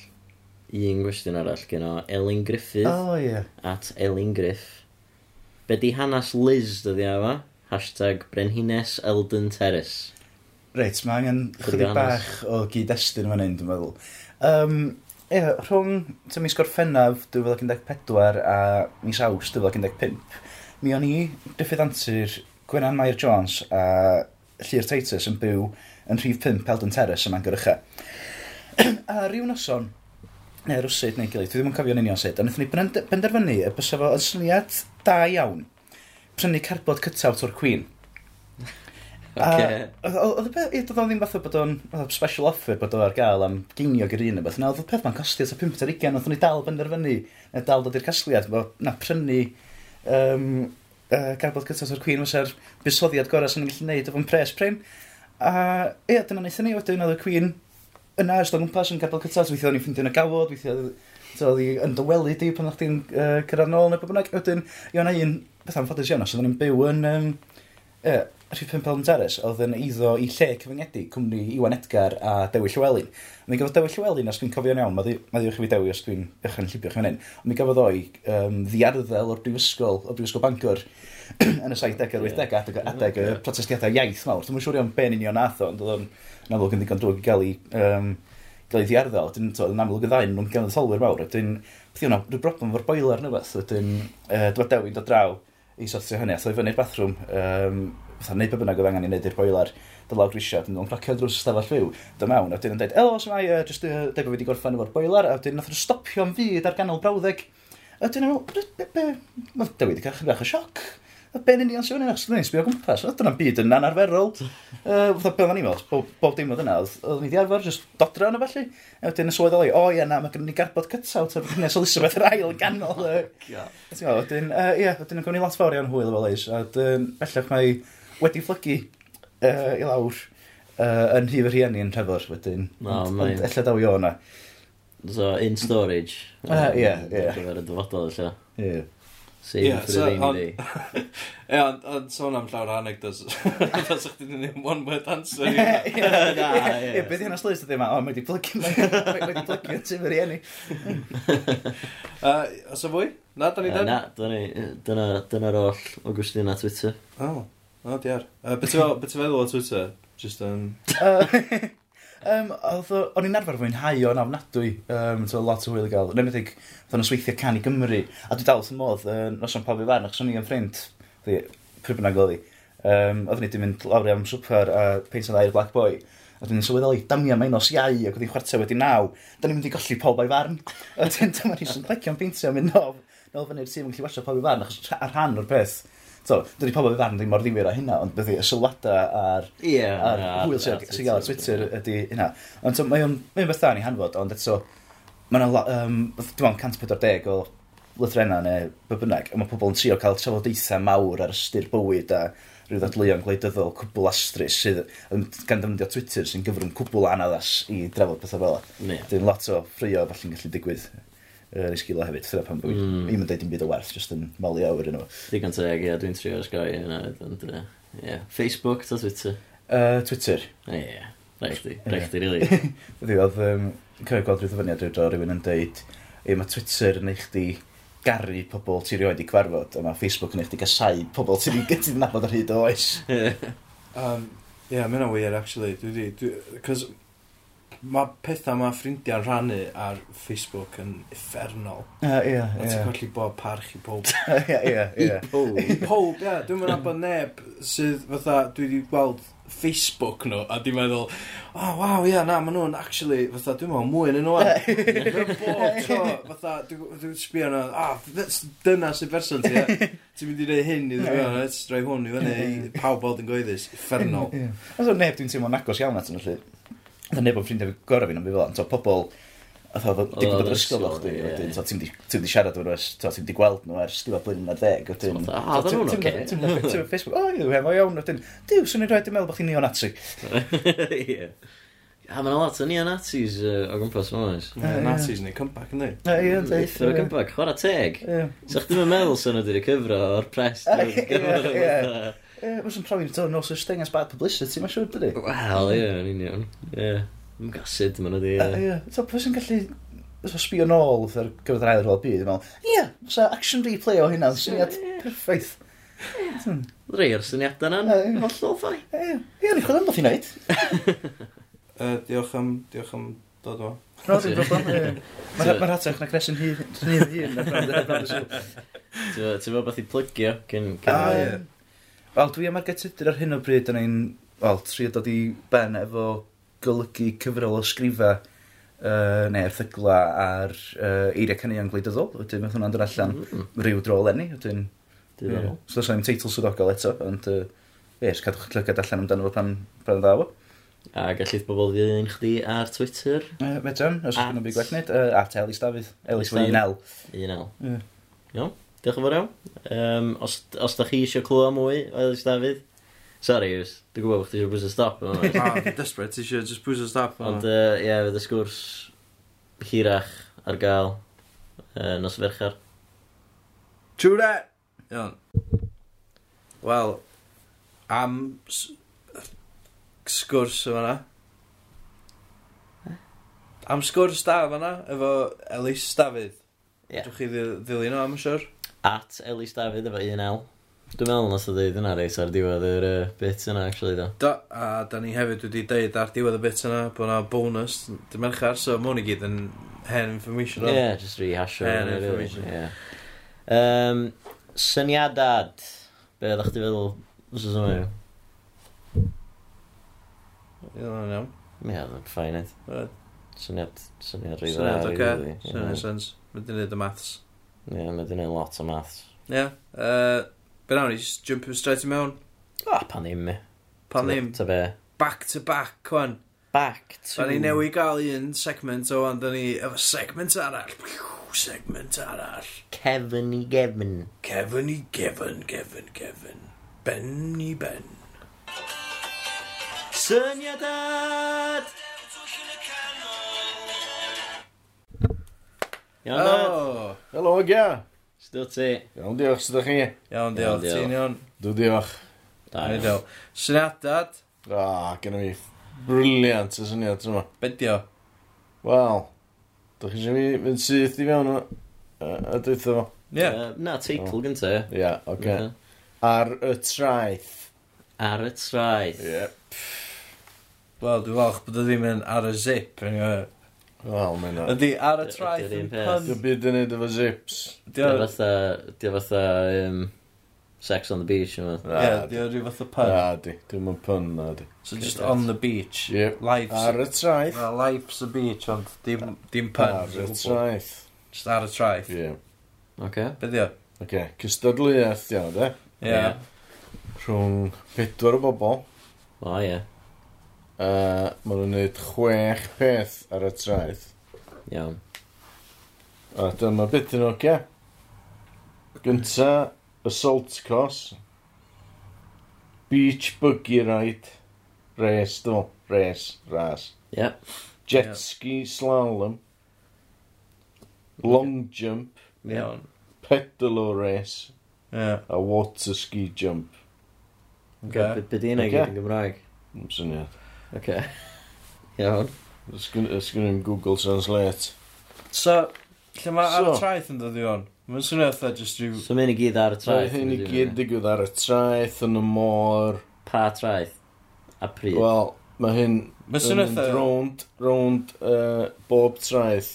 Un gwestiwn arall gen o Elin Griffith O, ie. at Elin Griff. Be di hanes Liz dyddi yma? Hashtag Brenhines Eldon Terrace. Reit, mae angen Chydig chydig hanes. bach o gyd-destun fan hyn, dwi'n meddwl. Um, ie, rhwng ty mis Gorffennaf 2014 a mis Aws 2015, mi o'n i Griffith Antur, Gwenan Mair Jones a Llyr Titus yn byw yn rhif 5 Peldon Terrace ym Mangorwcha. a ryw noson, neu rwsyd neu gilydd, dwi ddim yn cofio'n union sut, ond wnaethon ni bren- benderfynu y bysa fo yn syniad da iawn prynu carbod cytawt o'r Queen. Oce. A- Oedd oedd- oedd y peth, ie, doedd o ddim fatha bod o'n fatha special offer bod o ar gael am ginio gyda un o beth. Na, oedd y peth ma'n costio ta 5 ar 20, oedd ni dal benderfynu, neu dal dod i'r casgliad, bo, na prynu um, uh, garbod gytaf o'r Queen, fysa'r busoddiad gorau sy'n gallu neud efo'n pres prim. A ie, dyna wnaethon ni wedyn, oedd y Queen yna ystod o gwmpas yn garbod cytaf, weithio o'n i'n ffeindio yn y gawod, weithio So, oedd hi yn dywelu di pan o'ch ti'n uh, cyrraedd nôl neu beth bynnag. Wedyn, i o'na un, beth am ffodus iawn, os oedden ni'n byw yn um, uh, Rhyf Pimp Elm Terrace, oedd yn iddo i lle cyfyngedig cwmni Iwan Edgar a Dewi Llywelyn. A mi gafodd Dewi Llywelyn, os dwi'n cofio'n iawn, maddiwch i fi Dewi os dwi'n ychran llibio chi fan hyn, ond mi gafodd o'i um, ddiarddel o'r brifysgol, o'r brifysgol Bangor yn y 70au a'r 80au, adeg, adeg y protestiadau iaith mawr. Dwi'n siŵr iawn ben union nath o, ond oedd o'n yn amlwg yn ddigon drwg i gael ei um, gael ei ddiarddel. Dwi'n dod yn amlwg y ddain nhw'n gael y tolwyr mawr. Dwi'n beth yw'n rhyw broblem fo'r boiler neu beth. Dwi'n uh, dwi'n dewi'n dod draw i sortio hynny. Atho i fyny'r bathroom, um, fatha neud be bynnag oedd angen i wneud i'r boiler, dy lawr grisiad, yn o'n cracio drws stafell fyw, dy mewn, a dyn yn dweud, elo, os mae, uh, jyst uh, dweud bod fi wedi gorffen efo'r boiler, a dyn nath nhw stopio am fyd ar ganol brawddeg, a dyn nhw, be, be, be, ma' Dewi wedi cael chydig bach o sioc, a ben yn i'n sôn yn achos dwi'n sbio o gwmpas, a dyna'n byd yn anarferol, uh, fatha beth o'n i'n meddwl, bob, bob dim oedd yna, oedd- oedd ni wedi arfer, jyst dodra yna felly, a wedyn y swydd oli, o ie na, mae gen ni garbod cytawt ar Nes Elizabeth yr ail yn ganol, yy, A Ti'n gwybod, wedyn, yy, ie, wedyn yn gwneud lot fawr iawn hwyl efo Leis, a dyn, bellach mae wedi fflygu uh, i lawr uh, yn hif yr hieni yn trefod, wedyn. O, Ond- mae- Ond ella daw i o'na. So, in storage. Ah, ie, ie. Ar gyfer y dyfodol, lle. Ie. Save Ie, yeah, for so, so, rainy ond- day. Ie, ond- ond sôn am llawer o anegdos. Os ych chi'n ddim one word answer i hwnna. Ie, ie. Ie, beth yna sleis ydy yma? O, mae wedi plygu, mae mae wedi plygu yn tyf yr hieni. Yy, Os y fwy? Na, da ni Uh, dan? na, dyna ni- dyna- dyna'r oll o gwestiwn a Twitter. O, o diar. Yy, Be ti'n fel- be ti'n feddwl o Twitter? Just yn... Um, o'n i'n arfer fwynhau o'n ofnadwy, um, to lot o hwyl i gael. Yn ymwneud oedd o'n sweithio can i Gymru, a dwi dal wrth y modd, uh, nos o'n pawb i fan, achos o'n i yn ffrind, dwi, pryd bynnag oedd hi. Um, oedd ni wedi mynd lawr i am swper a peint yn i'r Black Boy. A dwi'n sylweddoli, damia mae'n nos iau, ac oedd hi'n chwarter wedi naw. Da ni'n mynd i golli pob o'i farn. A dwi'n dyma ni sy'n clecio'n peintio am mynd nof. Nol fyny'r tîm yn gallu wasio pob o'i farn, achos rha- ar rhan o'r peth. So, dydy pob o'i farn ddim mor ddifur o hynna, ond byddi y sylwadau a'r Ie. a'r Ah, hwyl sy'n sy'n gael ar Twitter ydy hynna. Ond so, mae o'n mae o'n beth da ni hanfod, ond eto, mae yna, um, dwi'n meddwl, 140 o lythrenna neu be bynnag, a mae pobl yn trio cael trafodaethau mawr ar ystyr bywyd a rhyw ddadleuon gwleidyddol cwbl astrus sydd yn gan ddefnyddio Twitter sy'n gyfrwng cwbl anaddas i drafod pethau fel yna. Ie. Dyn lot o ffrio falle'n gallu digwydd yn ei sgila hefyd, dyna pan bywyd. Mm. Mm. Ddim yn deud dim byd o werth, jyst yn malu awr yn nhw. Digon teg, ie, dwi'n trio Sky yna, ond, yy, ie. Facebook, ta Twitter. Uh, Twitter. Ie, ie. Rhaid i, rhaid i, rili. Dwi oedd um, cael gweld rhyw ddyfyniad rydw o rhywun yn deud e, mae Twitter yn eich di garu pobl ti rioed i gwerfod a mae Facebook yn eich di gasau pobl ti rioed i nabod ar hyd o oes. Um, Ie, yeah, mae'n weird, actually. Dwi di... dwi- Cos mae pethau mae ffrindiau'n rhannu ar Facebook yn effernol. Ie, ie, A ti'n colli bod parch i pob. ie. Ie, ie, I pob, ie. Dwi'n mynd abod neb sydd fatha dwi wedi gweld Facebook nhw a di meddwl, oh, waw, ie, na, maen nhw'n actually, fatha, dwi'n meddwl mwy yn nhw ar. Mae'n bob tro, fatha, dwi- dwi'n sbio nhw, ah, that's- dyna sy'n person ti, ie. Ti'n mynd i reid hyn i ddweud, "Oh, let's rhoi hwn i fyny, i pawb bod yn goeddus, effernol. Ie. Ond o'n neb dwi'n teimlo'n agos iawn at yn y lle. Oedd neb yn ffrindiau gorau fi na'n fi fel yna. pobl... Oedd oedd digwydd bod Oedd yr ysgol o'ch di. ysgol, ie. wedyn, t'o, Ti'm 'di- ti'm 'di siarad o'r ers, t'o, ti'm 'di gweld nhw ers diwedd blwyddyn ar ddeg. wedyn, T'o, t'o, fatha, "Ah, oedden ti'm- nhw'n ti'm- ocê." ti'm- ti'm- ti'm- Facebook, o, yw, hefo iawn. Wedyn, diw, swn i'n rhaid i'n meddwl bod chi'n neonazi. Ie. A mae'n lot o neo-nazis yy, o gwmpas yma, oes. Ie, Nazis neu comeback, ynddi? Ie, ie, deud, Eithyr o ie. gymbag, chwarae teg. Ie. So chdi ddim yn meddwl sy'n nhw wedi'i cyfro o'r pres. dwi'n Ie, cyfro ie. fatha- Ie, mae'n sy'n profi'n dod no such thing as bad publicity, mae'n siŵr, dydy? Wel, ie, yn union. Ie. Mae'n gasyd, ma'n ydi. Ie, ie. Ie, so pwy sy'n gallu so, sbio nôl ar gyfer yr ail rôl byd, yn meddwl, ie, so action replay o hynna, syniad perffaith. Rhai o'r syniadau Ie, ie. na'n hollol ffai. Ie, Ie, ie, ni'n chwilio am beth i wneud. Yy, Diolch am, diolch am dod o. No, dim problem. ie. Ma'r ma'r atach na cresyn hyn, hyn, hyn, na brand- na brand y sŵn. Ti'n fawr beth i plygio cyn... A, cyn- Ah, ie. Wel, dwi am argetydur ar hyn o bryd yn ein, wel, trio dod i ben efo golygu cyfrol o sgrifa uh, neu erthygla ar uh, eiriau caneuon gwleidyddol. Wedyn, mae hwnna'n dod allan Mm, Mm-hmm. ryw dro lenni. Wedyn, Diddorol. So, does na'm teitl swyddogol eto, ond, uh, ie, jyst cadwch llygad allan amdano fo pan, pan ddaw. A gallith bobl ddilyn chdi ar Twitter. Uh, Medran, os At- ydych chi'n byd gwell nid, uh, at Elis Dafydd. Elis Dafydd. Dafydd. Nel. Un el. Ie. Iawn. Diolch yn fawr iawn. Um, os, os da chi eisiau clywed mwy, Elis Dafydd. Sorry, Iws. Dwi'n gwybod bod chdi eisiau bwys y stop. yn fan'na. Ah, desperate, ti eisiau just bwys o stop. Ond, yy, ie, fydd y sgwrs hirach ar gael uh, nos ferchar. True that! Iawn. Wel, am s- sgwrs yma na. Am sgwrs da yma na, efo Elis Dafydd. Ie. Drwch chi ddi- ddilyn o am y siwr. At Elis Dafydd efo 1L. Dwi'n meddwl nes o ddeud yna reis ar diwedd yr uh, bit yna, actually, do. Da, a da ni hefyd wedi deud ar diwedd y bit yna bod na bonus dy merchar, so mwyn i gyd yn hen information Ie, o'n. yeah, just rehasho. Yeah, hwnna, rili, information. ie. Yym, Syniadad. Be ydych chi feddwl? Os oes yma? Ie, na'n iawn. Ie, dwi'n ffain eid. Right. Syniad, syniad rhaid. Syniad oce, syniad sens. Mae di wneud y maths. Ie, mae dyn nhw'n lot o maths. Ie. Yy, Be nawn ni, just jump straight i mewn. O, pan ddim mi. Pan ddim, Ta be. back to back, cwan. Back to... Da ni newi gael un segment o ond da ni efo segment arall. Piw, Segment arall. Kevin i Gefn. Kevin i Kevin, Kevin, Kevin. Ben i Ben. Syniadad! Iawn, dad. Oh! Helo, Gia. Sdw ti? Iawn diolch, sydd chi? Iawn, Iawn, diolch, ti'n iawn. Dw diolch. Da, Iawn, iawn. diolch. Syniadad, A, gen i fi briliant y syniad yma. bedio. Wel, dych chi eisiau fi fynd syth i fewn yma? Y dwytho fo. Ie. Yy, Na, teitl gynta. ie. Oh. Ie, oce. Fatha, Ar y traeth. Ar y traeth. Ie. Wel, dwi'n falch bod o ddim yn ar y zip. eniwe. Wel, mae'n o. Ydy, ar y Ydy'r traeth un yn peth. pun. Dwi'n byd yn neud efo zips. Dio, Dio fatha, dio fatha, um, Sex on the Beach, yma. ie, dio rhyw fath o pun. Na, di. Dwi'n mynd pun, na, di. So just on the beach. Ie. Ar Life's... y traeth. Well, life's a beach, ond dim, dim Ar y pun. traeth. Just ar y traeth. Ie. Oce. Bedio. Oce, cystadluaeth, iawn, de. Ie. Rhwng pedwar o bobl. O, ie. Uh, Maen nhw'n gwneud chwech peth ar y traeth. Iawn. A dyma beth yn oce. Gynta, assault course. Beach buggy ride. Race, dwi. Race, ras. Ie. Jet Ie. ski slalom. Long jump. Iawn. Pedalo race. Ie. A water ski jump. Oce. Be di yna i Ocê. gyd yn Gymraeg? Ym syniad. Oce. Iawn. Ysgwn i'n Google Translate. So, lle mae ar y So. traeth yn dod i hwn? Mae'n swnio fatha just rhyw... So mae'n i gyd ar y Mae traeth. hyn i yndydi, gyd hwnna? digwydd ar y traeth yn y môr. Pa traeth? A pryd? Wel, mae hyn Mae'n yn swnio mynd fatha... rownd, rownd uh, bob traeth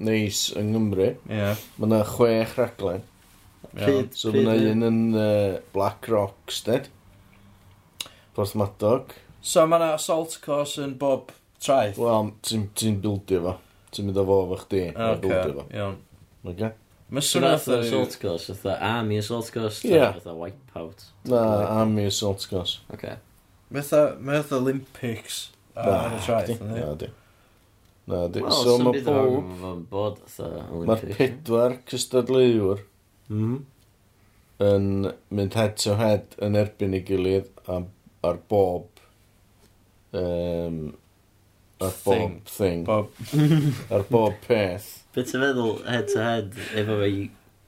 neis yng Nghymru. Ie. Mae yna chwech raglen. iawn. Pryd? So mae pryd yw- yna un yn uh, Black Rock, sted. Porth Madog. So mae yna assault course yn bob traeth. Wel, ti'n ti bildio fo. Ti'n mynd â fo fo chdi. a Oce, bildio fo. iawn. Okay? Mae'n So swnio nath fatha o'r rhyw... assault course, oedd army assault course, Ie. oedd wipeout. Na, am i assault course. Oce. Mae'n fatha Olympics Ah, ar Ah, y traeth. di. yndi? Na, di. Na, di. Wel, So sy'n mae byd o'r pob... fo'n bod fatha Mae'r Olympic. pedwar cystadleuwr Mm-hmm. Mhm. yn mynd head to head yn erbyn ei gilydd am, ar bob um, ar bob Thing. thing, Bob... ar bob peth Be ti'n feddwl head to head efo fe i...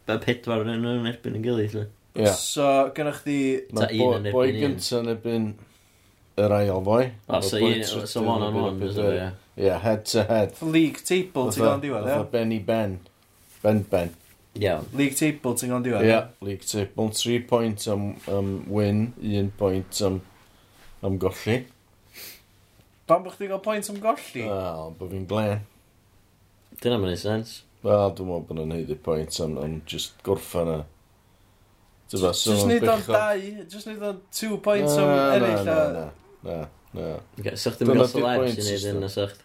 Be pedwar yn nhw'n erbyn yn gilydd, lle? yeah. So, gynnwch chi... Ta un Mae boi, yn erbyn boi un. gynta yn ebyn yr ail boi O, so un, so one on one, is it, ie. yeah, head to head League table ti'n gael yn diwedd, Fatha ie? Benny Ben Ben Ben Iawn. League table ti'n gael yn diwedd, yeah, league table 3 point am, am win 1 point am, am golli Pan bych ti'n gael pwynt am golli? Wel, bod fi'n glen Dyna mae'n ei sens. Wel, dwi'n meddwl bod nhw'n neud y pwynt am, am just gorffan yna. Dyfa, so Just neud o'n dau, just neud o'n two points am eraill a... Na, na, na. Oce, so chdi'n gael Dyna celebs di'r i point neud system. yn y sych.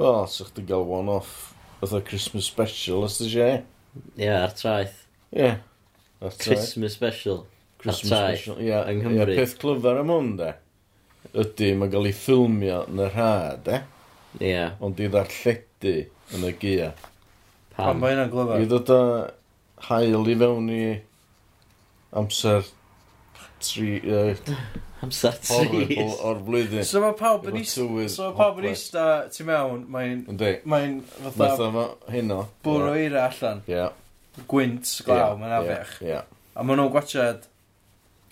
Wel, so chdi gael one-off. Fytha Christmas special, os ti eisiau? Ie, ar traeth. Ie. That's right. Christmas special. traeth, Ie, yng yng Nghymru. Nghymru. Ie, peth clyfar am hwn, de. Ydy, mae gael ei ffilmio yn yr ha, de. Ie, Ond i ddarlledu yn y gia. Pan pam. mae hynna'n I glyfar. ddod â hael i fewn i amser tri, uh, Amser horrible trees. o'r flwyddyn. So mae pawb yn Efo is- tywydd so mae pawb yn hopeless. ista tu mewn, mae'n Yndi, mae'n nath fatha o hynno. bwrw eira allan, Ie. gwynt, glaw, mae'n afiach. Ie. A maen nhw'n gwachad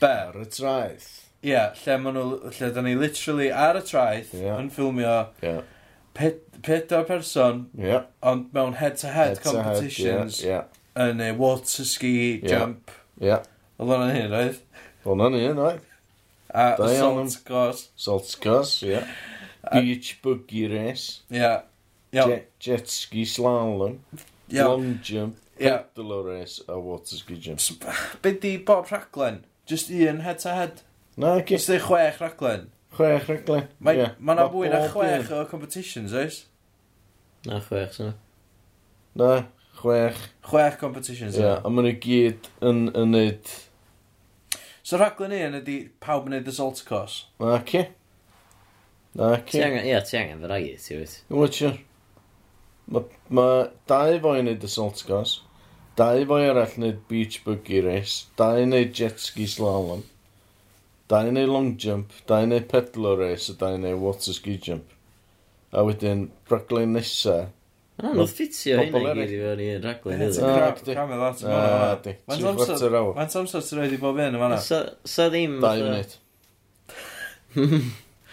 ber. Ar y traeth. Ie, lle maen nhw, lle da ni literally ar y traeth Ie. yn ffilmio Ie. ped- pedwar person, Ie. ond mewn head-to-head Head to head, competitions Ie. yn y water ski, Ie. jump, ie, Ie. oedd hwnna'n hyn, oedd? Hwna ni yn oed. A Da iawn. assault course. Salt cos, ie. Beach buggy race. Ie. Iawn, Jet, jet ski slalom. iawn. Long jump. Ie. Pedalo race a water ski jump. Be di bob rhaglen? Just un head to head? Na, ci. Just ei chwech rhaglen? Chwech regle. Mae Ie. ma na Ma' fwy na bob chwech un- o competitions, oes? Na, chwech sy'n. Na, chwech. Chwech competitions, Ie. ie. A maen nhw gyd yn yn neud. So rhaglen un ydi pawb yn neud assault course. Na, ci. Na, Ti ci. angen, ie, ti angen variety, wyt. Watcher. Mae ma dau fo yn neud assault course. Dau fo arall yn neud beach buggy race. Dau yn neud jet ski slalom. Dau yn neud long jump. Dau yn neud pedalo race. A dau yn neud water ski jump. A wedyn, braglen nesa. Na, nhw'n ffitio Pobl hynna i eraill. gyd i fewn i'n raglen Mae'n iddo. Na, gra- chdi. gramu lot o Na, hwnna. di. Mae'n Ti'n amser- chwarter awr. Mae'n samsar sy'n rhaid i bob un yn fanna. So, so ddim... Dau fatha- munud.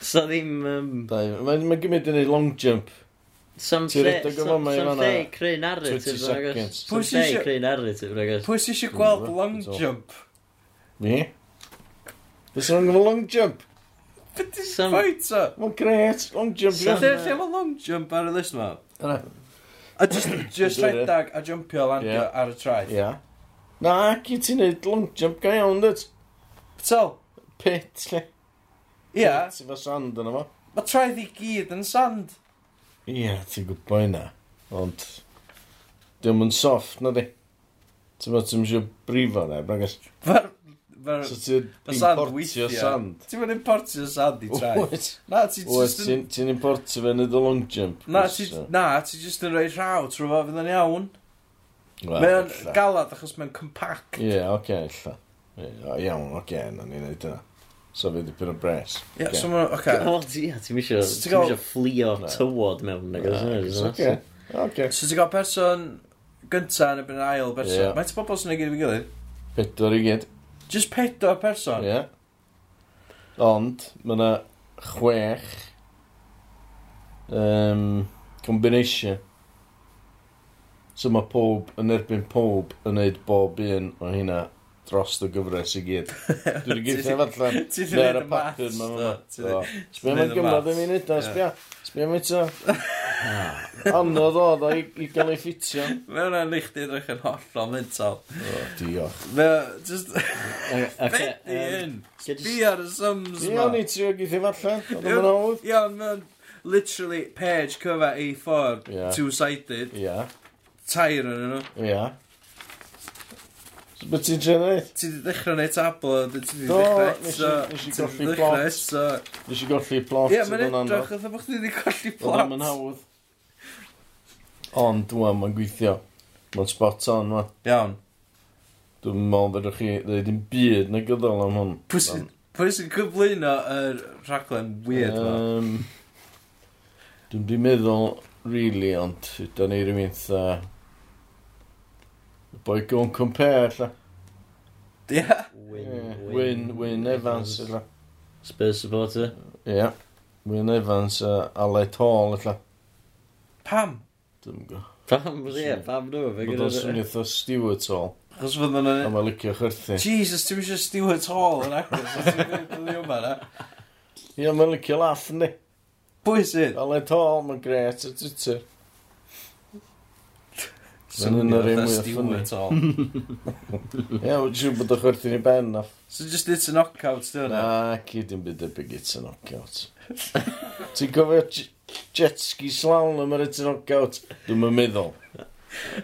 So ddim... yym, Dau Mae'n ma gymryd yn neud long jump. Sam Ti'n lle, rhedeg o sam fama i sam fan'na lle i creu narrative, 20 ragos. seconds. Sam Pwy sy lle i isio- creu narrative, ragos. Pwy sy'n eisiau gweld Dwi'n long gwybod. jump? Ni? Dwi'n rhan gyfer long jump. Be di'n Some- pwynt o? Mae'n gret. Long Lle jump. Some- uh, ie. lle mae long jump ar y list ma? Yna. A just, just Dwi'n gwybod. redag a jumpio landio Ie. ar y traeth. Ia. Na, ci ti'n neud long jump gael iawn, dyd. Tal, Pit, lle. ie, Ti fa sand yna fo. mae traeth i gyd yn sand. Ie, ti'n gwybod yna. Ond, diolch yn soft, na di. Ti'n meddwl ti'n siw brifo na, bragos. Fer, fer, So ti'n Y sand importio weithio. sand. Ti'n mynd importio sand i traeth? Wyt, Na, ti wyt, just yn... ti'n ti'n importio fe neud y long jump. Na, cos, ti, uh, na, ti just yn rhoi rhaw trwy fo fydd yn iawn. Mae o'n galad achos mae'n compact. Ie, oce, illa. Ie, o, Iawn, oce, na ni wneud yna. So fi wedi pyn o bres. Ie, so mae'n... Oce. O, ti- ie, ti'n misio, So ti'n ti'n gael- misio fflio Na. tywod mewn, nag oes? Oce, oce. So ti'n gael person gynta yn y byn ail person. Ie. Yeah. Mae'n bobl sy'n ei gyd i fi gilydd. Pedwar i gyd. Just pedo person. Ie. Ond, mae yna chwech um, combination. So mae pob yn erbyn pob yn neud bob un o hynna dros y gyfres i gyd. Dwi wedi Ti- gyfnod allan. ti 'di Neu'r neud y maths, papur ma' do. hwnna. Ti 'di- Do. Sbio neud mae'n y gymryd maths. yn munud o, Ie. sbio. Sbio mae'n to. Anodd oedd o i i gael ei ffitio. Mae hwnna'n neud chdi edrych yn hollol mental. O, diolch. Mae o just... Oce, Beth di yym, hyn? ga i jyst- Be ar y sums Ie, ma. o'n i trio gyda'i fallan. Oedd o'n hawdd. Ie, ond mae o'n literally page cyfa A4, Ie. two-sided, Ie. tair yn nhw. Ia. So, beth ti'n trio neud? Ti di dechrau neud tablo, ti di Do, dechrau nes i- eto, nes ti i di golli dechrau plot. eto. Nes i golli plot Ie, yeah, mae'n yn edrych anodd. oedd bod chdi wedi colli Oedd o'n plot. hawdd. Ond, dwi'n mae'n gweithio. Mae'n spot on, ma. Iawn. Dwi'n meddwl fedrwch chi ddeud yn byd na gyddol am hwn. Pwy sy'n- pwy sy'n cyflwyno yr rhaglen weird ma? Um, dwi'n di meddwl, really, ond, da ni rhywun tha... The boy going compare, lla. Ie. Ie, Wyn, Wyn, Wyn Evans, lla. Spurs supporter. Ie. Wyn Evans a Alet Hall, lla. Pam? Dwi'n gwybod. Pam, ie, pam nhw, fe Bod o'n gyda'r... swnio tho Stewart Hall, Achos fod nhw'n... a mae'n licio chwerthu. Jesus, ti'n eisiau Stuart Hall yn agos, os ti'n gwneud yma na. Ie, mae'n licio laff, ni. Pwy sy'n? Aled Hall, mae'n gret ar Twitter. Mae'n un o'r un mwyaf ffynnu. Stuart Hall. Ie, wyt ti'n siŵr bod o'n chwerthu'n ei ben, na. So just it's a knockout, still na. Na, cyd yn byd debyg it's a knockout. Ti'n gofio j- jet ski slawn am yr it's a knockout? Dwi'n mynd meddwl.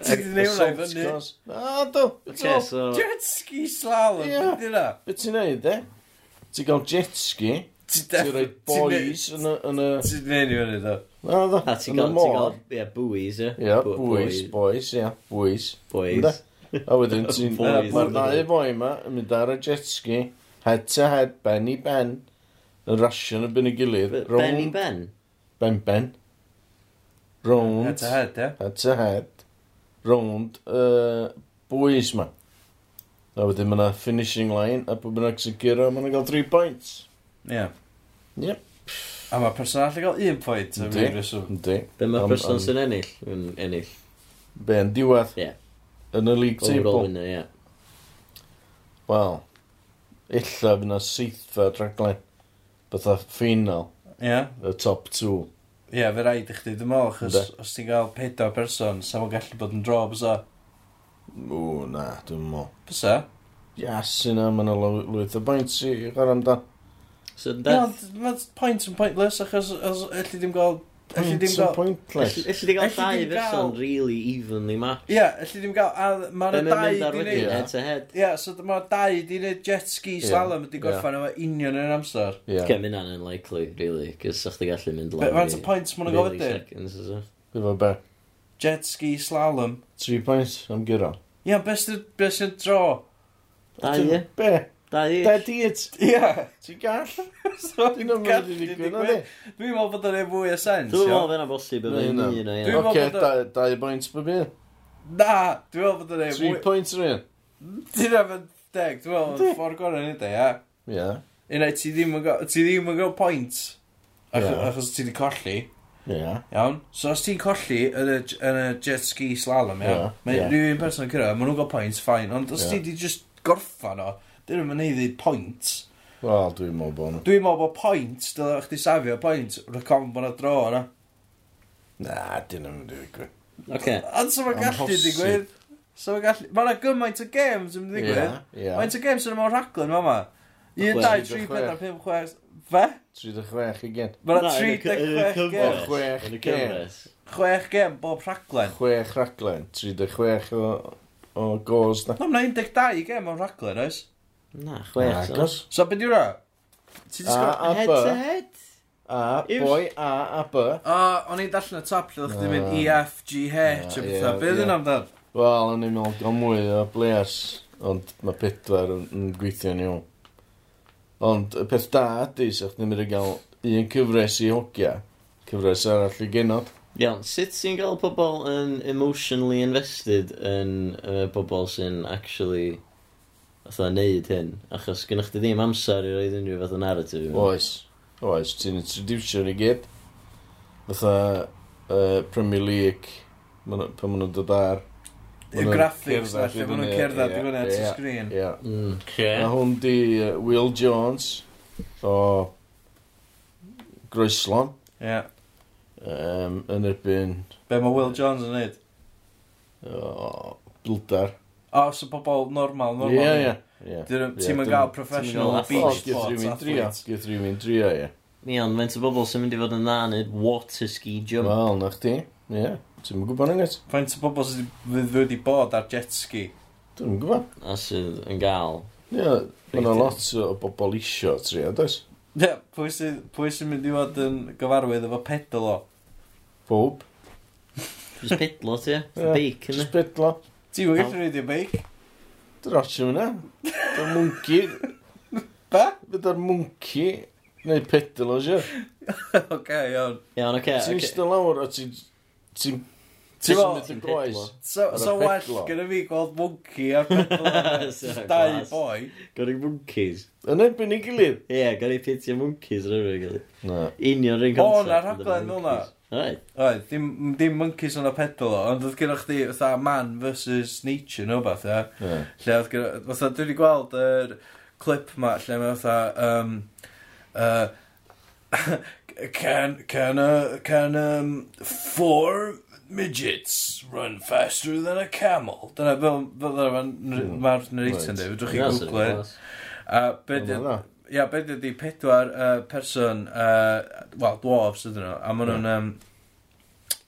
Ti di neud hwnna i Assault fyny? course. Na, do. Oh, Oce, so... Jet ski slalom, Ie. yeah. dyna. Beth ti'n neud, e? Ti'n gael jet ski, Ti'n ti'n rhoi boys yn y... yn y- Ti'n neud i fyny, do. Na, do. A ti'n yn y gael, ti'n môr. gael, ie, bwys, ie. Ie, Bw- boys, boys, ie, boys. Ynde? Boys. A wedyn ti'n... Boys, Mae'r ynde? ddau boi yma yn mynd ar y jet ski, head to head, ben i ben, yn rasio yn byn y gilydd, Be- Ben i rownd, Ben? ben ben, rownd, Head to head, ie. head to head, rownd, yy, boys ma. A wedyn mae'na finishing line, a bod bynnag sy'n gyrra, mae'n gael 3 points. Ie. Ie. A mae person all gael un pwynt am Yndi. un reswm. Yndi. Be mae'r Am- person am- sy'n ennill? Yn ennill. Ben diwedd. Ie. Yn y league Overall table. winner, ie. Wel, illa fydd yna seithfa rhaglen. Bytha final, Ie. y top two. Ie, fe rhaid i chdi, dwi'n meddwl, achos Yndi. os ti'n gael pedo person, sa fo'n gallu bod yn dro, bysa. O, na, dwi'n mo. Bysa? Yes, yna, mae'n lwyth o boints i chwer amdan. So, Ie, Beth, ond mae point yn pointless, achos os elli ddim gael... Elli ddim Points yn gael... pointless. Elli elli di gael Elli dau di'm person gael- really evenly matched. Ie, elli ddim gael... A mae'r Dyna'n dau mynd ar di wedyn, neud... Ie. head to head. Ie, so mae'r dau di neud jet ski Ie. slalom wedi Ie. gorffan efo union yn amser. Ie, Cem hynna'n unlikely, really, cos sa'ch di gallu mynd lawr. Fe- Faint o points maen nhw'n gael wedyn? wedyn? efo be. Jet ski slalom. Tri points am gyro. Ie, beth sy'n be sy dro? Da Ah, ie, Be? da ie. Dead eat. Ie. Ti'n gall? So, Ti'n o'n mynd i ddigwydd, na di? Dwi'n meddwl bod o'n ei fwy o sens, Dwi'n ia. meddwl fe'n bosib efo Neu un un hynna. o Dwi'n un. meddwl Oce, bod o- dau- dau boints bob un. Na, dwi'n meddwl bod o'n ei Tri fwy... points yr un. Dyna fe'n deg, dwi'n meddwl, yn ffordd gorau nid e, ia. Ie. Unai, ti ddim yn go- ti ddim yn gael point, ach- Ie. achos ti wedi colli, Ie. iawn? So, os ti'n colli yn y, j- yn y jet ski slalom, Ie, ia, mae ie. rhywun person yn cyrraedd, maen nhw'n gael points, fine, ond os Ie. ti wedi just gorffan o, dyn nhw'n mynd i ddweud point. Wel, dwi'n meddwl bod nhw. Dwi'n meddwl bod point, dyle chdi safio point, recon bod na dro yna. Na, dyn nhw'n mynd i ddigwydd. Oce, Ond so mae'n gallu Amhosib. digwydd. So mae'n gallu... Mae'n gymaint o games yn mynd i digwydd. Ie, ie. Mae'n o games yn y mewn raglen fama. 1, 2, Chwe- 3, chwech. 4, 5, 6... Fe? 36 i gen. Mae'n Na, yn y cy- yn y 36 gem. cyfres. Chwech yn y gen. cyfres. 6 gem bob raglen. Chwech raglen. 36 o, o gols na. Na, mae'n 12 gem mewn raglen, oes? Na, chwech. so. Agos. So, beth yw'r Ti A, disgwyl... a, Head b. to head? A, boi, a, a, b. O, o'n i'n darllen y top lle o'ch chi'n mynd E, Na. F, G, H, a Na, bethau. ie, Beth ie. yw'n amdan? Wel, yn i'n meddwl gael mwy o blers, ond mae pedwar yn, yn gweithio'n iawn. Ond y peth da ydy, sa'ch ni'n mynd i gael un cyfres i hogia, cyfres arall i genod. Iawn, sut ti'n gael pobl yn emotionally invested yn uh, pobl sy'n actually fatha neud hyn? Achos gynnwch chi ddim amser i roed unrhyw fath o narrative. i mewn. Oes, oes, ti'n introducio ni gyd. Fatha uh, Premier League, ma' nhw- pan maen nhw'n dod ar. ma' Y nhw'n graphics na, cerddad i lle maen nhw'n fyny, cerdded i ie, fyny at y ie, sgrin. Ie, Mm. A hwn di uh, Will Jones o Groeslon Ie. um, yn erbyn Be mae Will Jones yn neud? o Bildar. O, so pobl normal, normal. Ie, ie. ie. Dyn nhw- Ie, Ti'm yn dyn- gael ti'm professional yn gael beach athlete. Geith sports rhywun drio, athlete. geith rhywun drio, ie. Iawn, mae'n bobl sy'n mynd i fod yn dda yn neud water ski jump. Wel, na chdi, ie. Ti'n mynd gwybod ynghet? Faint o bobl sydd fydd wedi bod ar jet ski? Dwi'n mynd gwybod. A sydd yn gael. Ie, mae yna lot o bobl isio trio, does? Ie, pwy sydd pwy sy'n mynd i fod yn gyfarwydd efo pedal o? Bob. Just pedlo, ti? Ie. Beic, yna? Just bedlo. Ti wedi gallu rhaid i'r beic? Drosio fyna. Da'r mwnci. Be? Byda'r mwnci. Neu pedal o sio. Oce, iawn. Iawn, oce. Ti'n oce. eistedd lawr a ti'n... Ti'n... Ti'n Ti'n meddwl- symud y groes. So, Ar y so pedlo. well, gyda fi gweld mwnci ar pedal o. Sa, Jyst Dau class. boi. Gorau monkeys. Yn erbyn i gilydd. Ie, yeah, gorau pitio monkeys rhywbeth gyda. Na. Union rhywun O, concept. na rhaglen fel na. Right. Oedd, dim, dim monkeys yn y pedal o, ond oedd gyda chdi fatha man versus nature nhw beth, ie. Lle oedd gyda, fatha, dwi wedi gweld yr clip ma, lle mae fatha, um, uh, can, can, a, can, um, four midgets run faster than a camel? Dyna, fel, fel dyna ma'r- ma'r narrator yn dweud, Right. fedrwch chi Ie, sy'n gwglo hyn. class. A be di, Wel, na. ia, be di pedwar uh, person, uh, wel, dwarfs ydyn nhw, a maen nhw'n, um,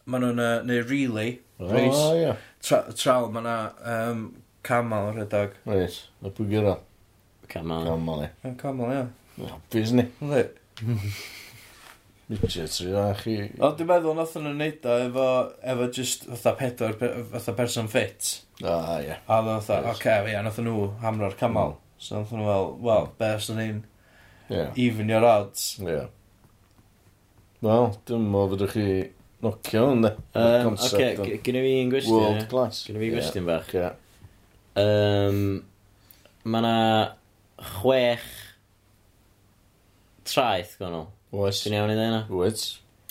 maen nhw'n uh, neu really, race, O, ie. tra, trawl, maen na um, camel rhedeg. Reit. Na pwy gyda. Come on. Gamal i. Yn camel, ia. Hapus ni. Ynddi. Midgets i a chi. Ond dwi'n meddwl nath nhw'n neud o efo, efo just fatha pedwar, pe- fatha person fit. A, ie. A dda fatha, oce, Yes. okay, ia, nath nhw hamro'r camel. So nath nhw fel, wel, be os o'n i'n Ie. even your odds. Ie. Wel, dwi'n meddwl fydwch chi nocio yn de. Um, Oce, g- gynnu fi un gwestiwn. ie? World class. Gynnu fi gwestiwn bach. Ie. Um, mae na chwech traeth gonol. Oes. Ti'n iawn i ddau yna? Wyd.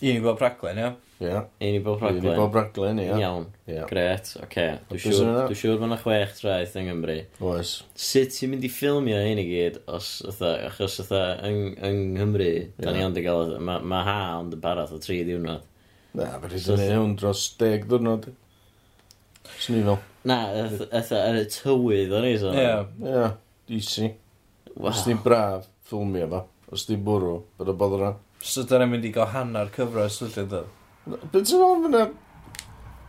Un i bob raglen, ia? Ie. Un i bob Un i rhaglen. bob raglen, ie. Iawn. Ie. Gret, oce. Dwi'n Hapus yna? siŵr- Dwi'n siŵr bod na chwech traeth yng Nghymru. Oes. Sut ti'n mynd i ffilmio hyn i gyd os ytha, achos ytha yng, yng Nghymru, da ni Ie. ond i gael, ytha- mae ma ha ond yn barath o tri diwrnod. Na, fydwch chi'n ei hwn dros deg ddwrnod. Snifel. Na, ytha, ytha y tywydd o'n i, so. Ie. Ie. Easy. Wow. Os ti'n braf, ffilmio fo. Os ti'n bwrw, bod o bod o'n So dyna mynd i gael hanner cyfres, dwi'n dweud. Be ti'n meddwl fyna?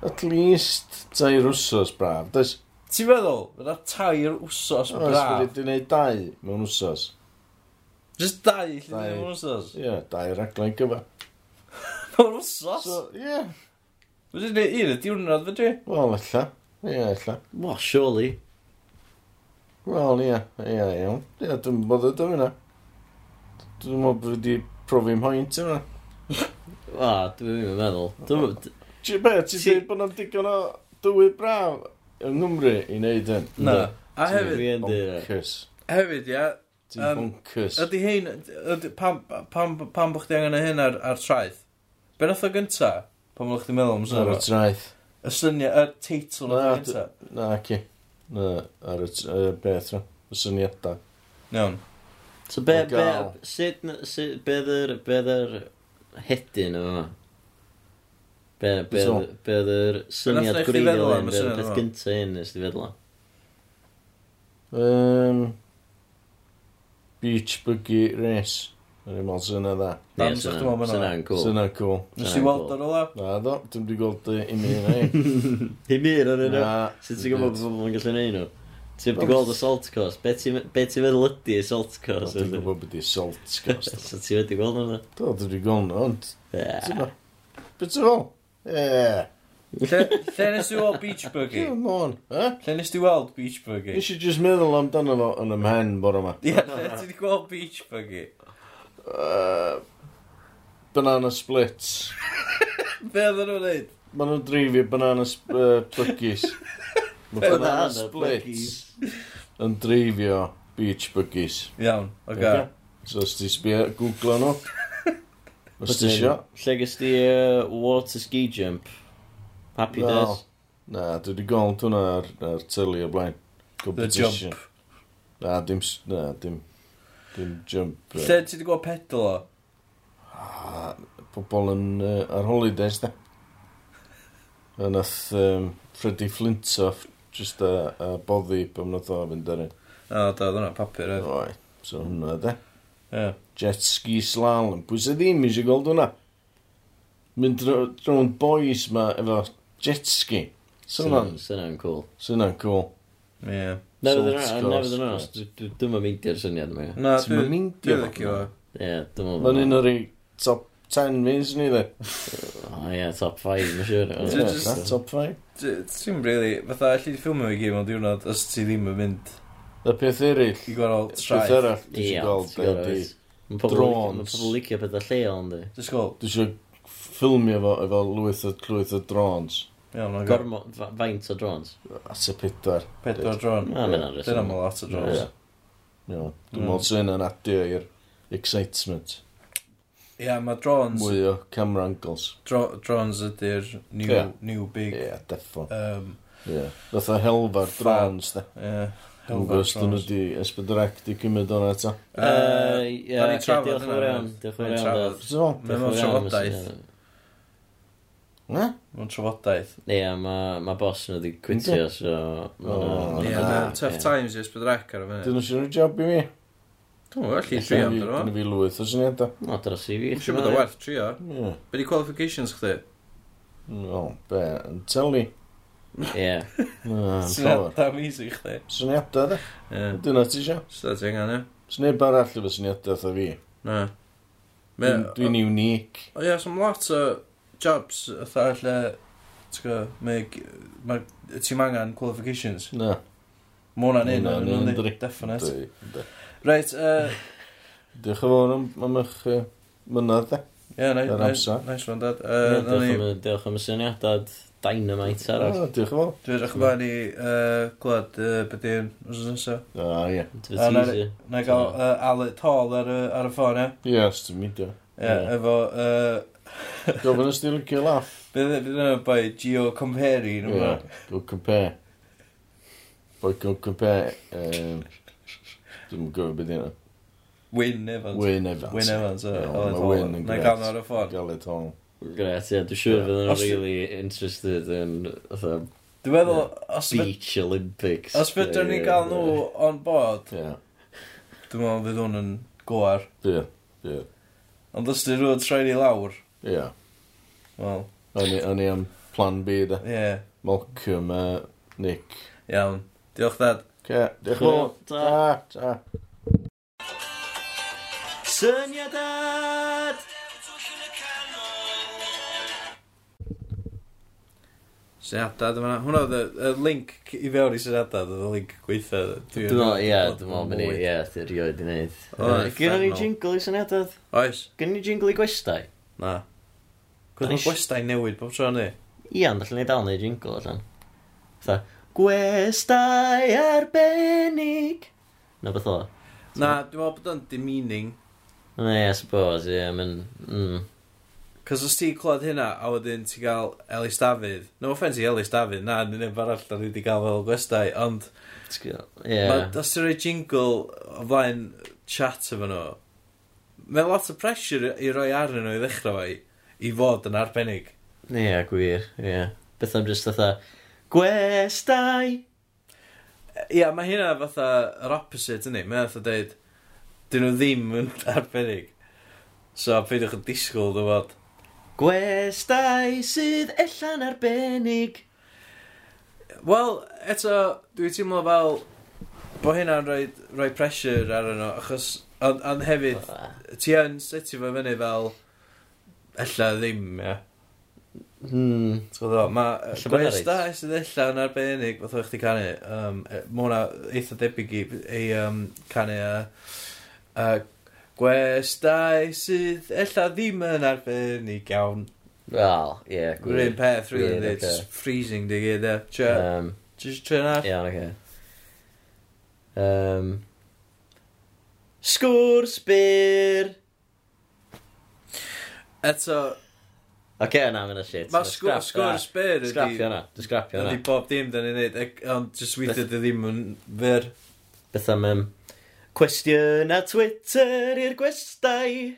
At least tair wsos braf. Does? Ti'n meddwl, fydda tair wsos Os braf. wedi di wneud dau mewn wsos. Just dau, lle Dau. ddim yn wsos. Ie, yeah, dau raglen gyfa. Mae'n wsos? So, ie. Yeah. Fydda ni un y diwrnod, fydda ni? Wel, ella. Ie, yeah, ella. Wel, surely. Wel, ie. Ie, iawn. Ie, dwi'n bothered am hynna. Dwi'n meddwl bod wedi profi'n hoent yma. Wel, dwi'n ddim yn meddwl. Dwi'n... d- Ti'n be, ti'n Ti- dweud bod nhw'n digon o dwy braf yng Nghymru i wneud hyn? Na. Yndw. A hefyd, Dwi yn dweud. Bonkers. hefyd, ia, Ti'n Yym, bonkers. Ydy hyn, ydy, pam, pam, pam bych chi angen o hyn ar, ar traeth? Be nath o gynta? Pam bych chi'n meddwl am Ar y sy'n traeth. Y syniad, y teitl nath o Na, gynta. Na, ci. Na, ar y t- yy, beth yna. Y syniadau. Iawn. So, be, O be, gael. sut, n- sut, beth yr, beth yr hedyn yma? Be, be, So. be yr Be syniad wnaeth chdi feddwl gwreiddiol am y hyn, be syniad peth yma? gyntaf hyn nes ti feddwl o? Um, beach buggy race. Yn ymwneud syna dda. Pam Ie, sa'ch syna- chdi meddwl ma' hwnna? syna'n Cool. cool. Syna cool. Nes i weld ar e. ola? Na ddo, dim di gweld uh, imi yna i. Hi mir ar yno. Na, Sut ti'n gwybod bod pobl yn gallu neud nhw? Ti'n wedi gweld assault course? Be ti'n be ti feddwl ydi assault Dwi'n course? dwi'n felly? gwybod beth i salt gost. So ti wedi gweld nhw? Do, dwi'n di gweld nhw, ond... Ie. Beth ti'n fel? Ie. Lle, lle nes i weld beach buggy? Ie, mon. Eh? Lle nes i weld beach buggy? Nes i just meddwl amdano fo yn ym mhen bore yma. Ie, lle ti wedi gweld beach buggy? Uh, banana splits. Be oedden nhw'n neud? Maen nhw'n drifio banana sp uh, buggies. Mae banana Banana splits yn drifio beach buggies. Iawn, oce. Ocê. So os ti sbio, googlo nhw. Os ti isio. Lle gys di uh, water ski jump? Happy No. no. days. Na, dwi wedi gweld hwnna ar, ar tylu o blaen. Competition. Na, dim... s- Na, dim... Dim jump. yy. Lle ti wedi gweld pedal o? Ah, Pobl yn... Uh, ar holidays, da. A nath um, Freddie Flintoff just a, a boddi pan nath o fynd ar un. O, da, oedd hwnna papur oedd. Oi, so hwnna, da. Ie. Jet ski slalom. Pwy sydd ddim eisiau gweld hwnna? Mynd dro- drwy'n boys ma efo jet ski. So hwnna'n... Syna'n cool. So hwnna'n cool. Ie. Never dyn Salt nhw, cost, never dyn cost. nhw. Dwi'n mynd mindio'r syniad yma. ie. Na, Ti'n dwi- meindio dwi'n licio hwnna? fo. Ie, dwi'n Mae'n un mynd. o'r ei top 10 fins ni dde. O ie, top 5, mae'n siwr. O, Dwi Ie, jyst- na, Top 5. Dwi- Ti'n really, fatha, allu di ffilmio i gyd mewn diwrnod os ti ddim yn mynd Y peth eraill. i gwahanol Peth traeth. arall dwi Ie, eisiau gweld ti'n gweld, be di. oes. Mae pobl Drones. licio- ma' pobl licio beth o lleol, ynddi. Just go. Dwi eisiau ffilmio fo efo lwyth o lwyth o drons. Iawn, oce. Gormo, fa- faint o drones? At y pedwar. Pedwar dron. Na, mae'n arys. Dyna mae lot o Ie. drons. Ie. Dwi'n Mm. meddwl sy'n yn adio i'r excitement. Ie, mae drons, Mwy o camera angles. dro- drons ydy'r new, Ie. new big. Ie, defo. Um, Ie. Nath o helfa'r drons, de. Ie. Dwi'n gwrs dyn nhw di esbydrec di cymryd o'n eto. Uh, Yy, ie, da ni'n ocê, trafod diolch yn fawr hynna, iawn. oedd. Diolch yn fawr Ni'n trafod. iawn, Dad. Dwi'n Mae Diolch yn meddwl. mewn fawr iawn am y trafodaeth. syniad. Na? Mae'n trafodaeth. Ie, mae ma bos nhw wedi Yndw. cwitio, so... ma' O, Ie, hwnna- na, yeah, na, tough times i ysbydrec ar y fyny. Dyn nhw sy'n rhoi job i mi. Dwi'n meddwl, allu i Dyn trio nhw- dyn amdano nhw fo. fi lwyth o syniadau. O, dros i fi. Dwi'n siŵr bod o werth trio. Ie. Be di qualifications chdi? Wel, be, yn teli. Ie. Na, yn llawer. am easy chdi. Syniadau, da. Ie. Dyna ti isio. Sda ti angen, ie? Sneb arall efo syniadau eitha fi. Na. Dwi'n Me- dwi'n unique. O ie, some lot o jobs ytha lle, ti'n gwybod, mae g- mae- ti'n angen qualifications. Na. Mae hwnna'n un Ma' o'n hwnna'n un, nhw'n dydi? ddi- definite. dwi- dwi. Reit, yy, Diolch yn fawr am am eich yy, mynydd, da. ie, ni- Yr amser. ni- nice one, dad. Yy, Ie, nawn ni- Diolch am y- diolch am y syniadad dynamite arall. O, Diolch yn fawr. Dwi'n edrych ymlaen i uh, glod uh, beth yw'n wrth nesaf. O, ie. Dwi'n A na- teasy. Na i gael uh, Alec Hall ar, y- ar y ffôn, ie? Ie, os ti'n midio. Ie, Ie. efo... Uh, Gofyn os ti'n licio laff. Bydd yna'n bai Gio Comperi, nhw Ie, yna. Go compare. Boi go compare. yym, Dwi'm yn gwybod beth yna. Wyn Evans. Wyn Evans. Wyn Evans, uh, Oh, ie. Ie, Alec ma' Hall. Wyn yn Na i grêt. gael nhw ar y ffôn. Gael ei tol. Gret, ie, dwi'n siŵr Ie. fydd nhw'n Os- really interested yn fatha Dwi'n meddwl, os fyd- beach Olympics. os fydwn ni gael nhw on board, Ie. dwi'n meddwl fydd hwn yn gwar. Ie. Ie. Ond os dyn nhw'n troi ni lawr, Ie. wel, O'n i- O'n i am plan B da. ie, Malcolm a Nick. iawn. Diolch, dad. Ce, diolch yn Hwyl, fawr. ta. Ta, ta. Syniadad! Syniadad yma. Hwna oedd y y link c- i fewn i syniadad, oedd y link gweitha. Dwi'n meddwl, ie, dwi'n meddwl, mynd i, ie, dwi'n rioed i wneud. O, Yy, uffernol. Gynnon ni jingle i syniadad? Oes, Gynnon ni jingle i gwestai? na. Gwyd Nice. mae gwestai newid bob tro ni. Ie, ond allan ni dal neu jingle allan. Tha, gwestai arbennig. Na beth o. Na, dwi'n meddwl bod o'n demeaning. Na, ie, I suppose, ie, mae'n... Mm. Cos os ti'n clywed hynna, a wedyn ti'n cael Elis Dafydd. No offence i Elis Dafydd, na, nid yn barall da ni wedi cael fel gwestai. Ond, Ti'n gweld? yeah. Ie. os ti'n rhoi jingle o flaen chat efo nhw, mae lot o pressure i roi arnyn nhw i ddechrau fo i, i fod yn arbennig. Ie, gwir, ie. Beth am jyst fatha, gwestai. Ia, yeah, mae hynna fatha yr opposite yni. Mae fatha dweud, dyn nhw ddim yn arbennig. So, peidiwch yn disgwyl, dwi'n bod. Gwestai sydd ella'n arbennig. Wel, eto, dwi'n teimlo fel bod hynna'n rhoi, rhoi pressure ar nhw, achos, ond on hefyd, ti yn setio fo fyny fel, ella ddim, ia. Hmm. Ti'n gwybod, mae Lle bod 'na gwers reit? da sydd allan arbennig, fath o'ch ti canu, um, mae hwnna eitha debyg i, i um, canu uh, uh, gwers da sydd ella ddim yn arbennig iawn. Wel, ie, Gwir un peth, rwy'n Gwir, dweud, ocê. it's freezing di gyd, e. Tio, Um, just try na. Iawn, oce. Um, sgwrs byr! Eto, Oce, na, mae'n shit. mae sgwr sbyr Sgrapio ydi, na, dwi'n sgrapio na. ydi bob dim da ni'n neud, ond just weithio dy ddim yn fyr. Beth am... Um, Cwestiwn a Twitter i'r gwestai.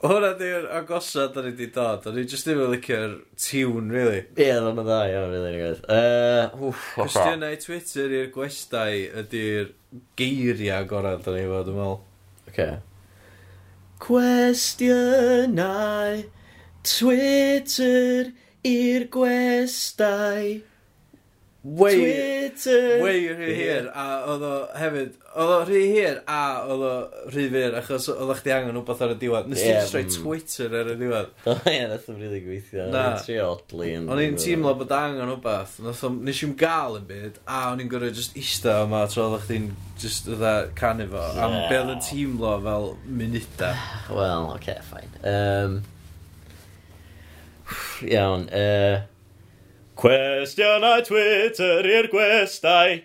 Hwna di'r agosad da ni di dod, o'n i just ddim yn licio'r tune, really. Ie, yeah, o'n dda, iawn, rili, ni gwaith. Uh, wff, wff, Cwestiynau Twitter i'r gwestai ydy'r geiriau gorau da ni fod yn meddwl. Oce. Cwestiynau Twitter i'r gwestai. Way, Twitter. way rhy hir, a oedd o hefyd, oedd o rhy hir, a oedd o rhy fyr, achos oedd o'ch di angen wbeth ar y diwedd. Nes Ie, ti'n stroi mm. Twitter ar y diwedd. O ie, nath o'n rili gweithio. Na. Na. O'n i'n trio odli. yn- O'n i'n teimlo bod angen wbeth, nath o- nes i'n gael yn byd, a o'n i'n gorau just ista yma, tro oedd o'ch di'n just ydda canu fo, am Ie. be oedd yn teimlo fel munuda. Wel, oce, okay, ffain. Um, iawn. Uh, Cwestiynau Twitter i'r gwestai.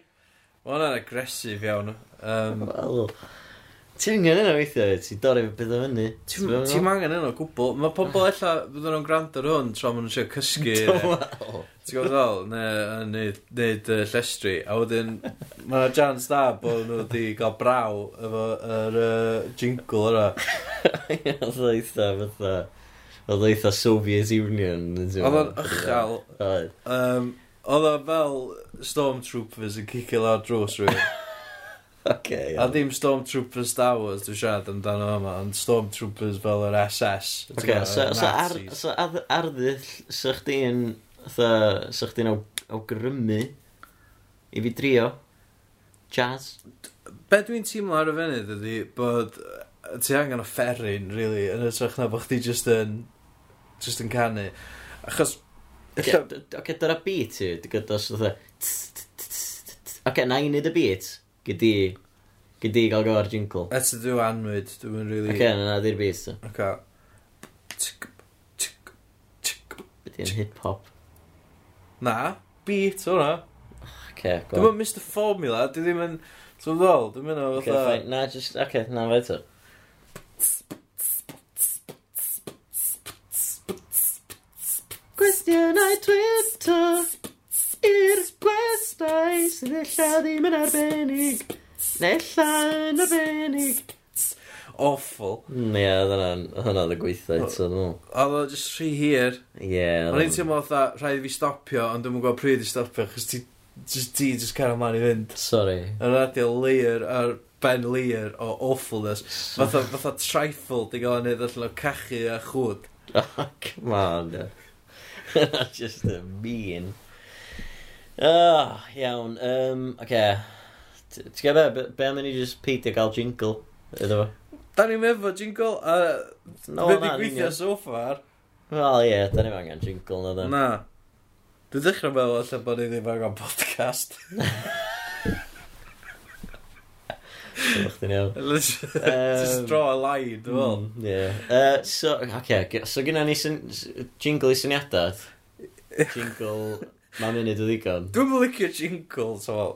Ma' hwnna'n agresif iawn. Um, Wel, ti'n angen yna weithio, wyt? ti'n dorri beth o fyny. Ti'n ti'n angen yno gwbl. Mae pobl ella fydden nhw'n gwrando ar hwn tra maen nhw'n siarad cysgu. neu- Wel, Ti'n gwybod fel? Neu yn neud- neud yy, llestri. A wedyn, mae yna chance da bod nhw wedi cael braw efo yr yy, jingle yna. Oedd o eitha, fatha... Oedd o eitha Soviet Union. yn teimlo. Oedd o'n ychel. Oedd. Um, Oedd o fel stormtroopers yn cicio lawr drws rhywun. Oce, A iawn. ddim stormtroopers Star Wars dwi'n siarad amdano yma, ond stormtroopers fel yr SS. ti'n Oce, gwbod, so y so ar- Nazis. so ar- arddull, sa chdi'n... Fatha, sa chdi'n aw- awgrymu i fi drio jazz. Be dwi'n teimlo ar y funud ydy bod yy, ti angen o fferin, really, yn ytrach na bod chdi just yn, just yn canu. Achos, Oce, d- oce, dyna beat i, dy gyda os fatha... tss, tss, tss, tss, tss. Oce, na i neud y beat, gyda i... Gyda i gael gofio'r jingle. eto dwi'n anwyd, dwi'n really... Oce, na di'r beat, so. Oce. Tsk, tsk, tsk. Bydd i'n hip-hop. Na, beat hwnna. Oce, go Dwi'n mynd Mr Formula, dwi ddim yn... Dwi'n ddol, dwi'n mynd o Oce, fatha... fine. Na, just, oce, na, fe eto. Gwestiynau Twitter i'r gwestai sydd ella ddim yn arbennig. Nella yn arbennig. Awful. Ie, hwnna oedd y gweithio eto, dwi'n meddwl. Oedd o just rhy hir. Ie, O'n i'n teimlo fatha, rhaid i fi stopio, ond dwi'n gwybod pryd i stopio, chos ti... Just ti, just car ymlaen i fynd. Sorry. Yn radio layer ar ben layer o awfulness. Fatha, fatha trifle di gael yn neud allan o cachu a chwd. Oh, come on. dude. That's just a mean. Oh, iawn. Um, okay. T- Ti'n gwybod be, be am i ni just peidio gael jingle? Iddo fo. Da ni'n efo jingle a No, no, be di na, yn gweithio union. so far. Wel, ie, da ni'n angen jingle na da. Na. Dwi'n dechrau meddwl allan bod ni ddim angen podcast. Ydych chi'n iawn. Let's Um, just draw a line, dwi'n fel. Mm, Ie. Yy, So, oce, g- so gyda ni syn- s- jingle i syniadad. Jingle, ma munud o ddigon. Dwi'n mynd licio jingles, o fel.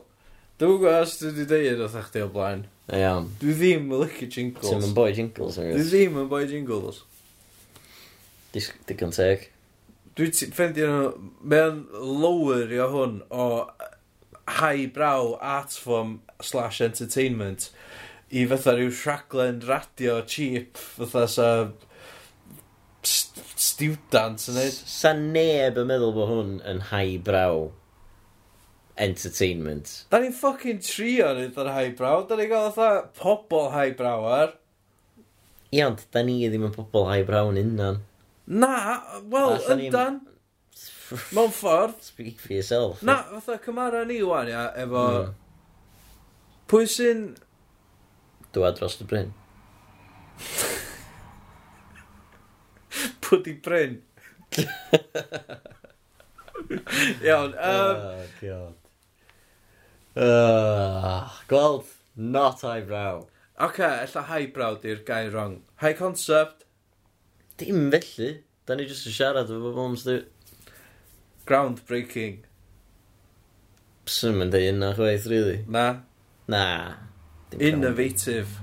Dwi'n gwybod os dwi wedi deud oedd chdi o blaen. Iawn. Dwi ddim yn licio Ti'n jingles. mynd boi jingles, yn Dwi gwrs. ddim yn boi jingles. Dis- Digon teg. Dwi ti- ffeindio nhw, mae'n lower i o hwn o highbrow art form slash entertainment i fatha rhyw rhaglen radio cheap fatha sa st- students yn neud. Sa neb yn meddwl bod hwn yn highbrow entertainment. Da ni'n ffucking trio neud ar highbrow, da ni'n gael fatha pobol highbrow ar. Ie, ond da ni ddim yn pobl highbrow yn unan. Na, wel, Fatha ni'n- yndan, mewn ffordd. Speak for yourself. Na, fatha cymara ni wan ia, efo... Mm. Pwy sy'n... Dwa dros y bryn. Pwdi Bryn. Iawn, yym, Oh, God. Uh, gweld, not highbrow. oce, ella highbrow di'r gair wrong. High concept, Dim felly. Da ni jyst yn siarad efo bobl am sydd... groundbreaking. Swn i'n dweud yna chwaith, really. Na, Na. Dim cael. innovative.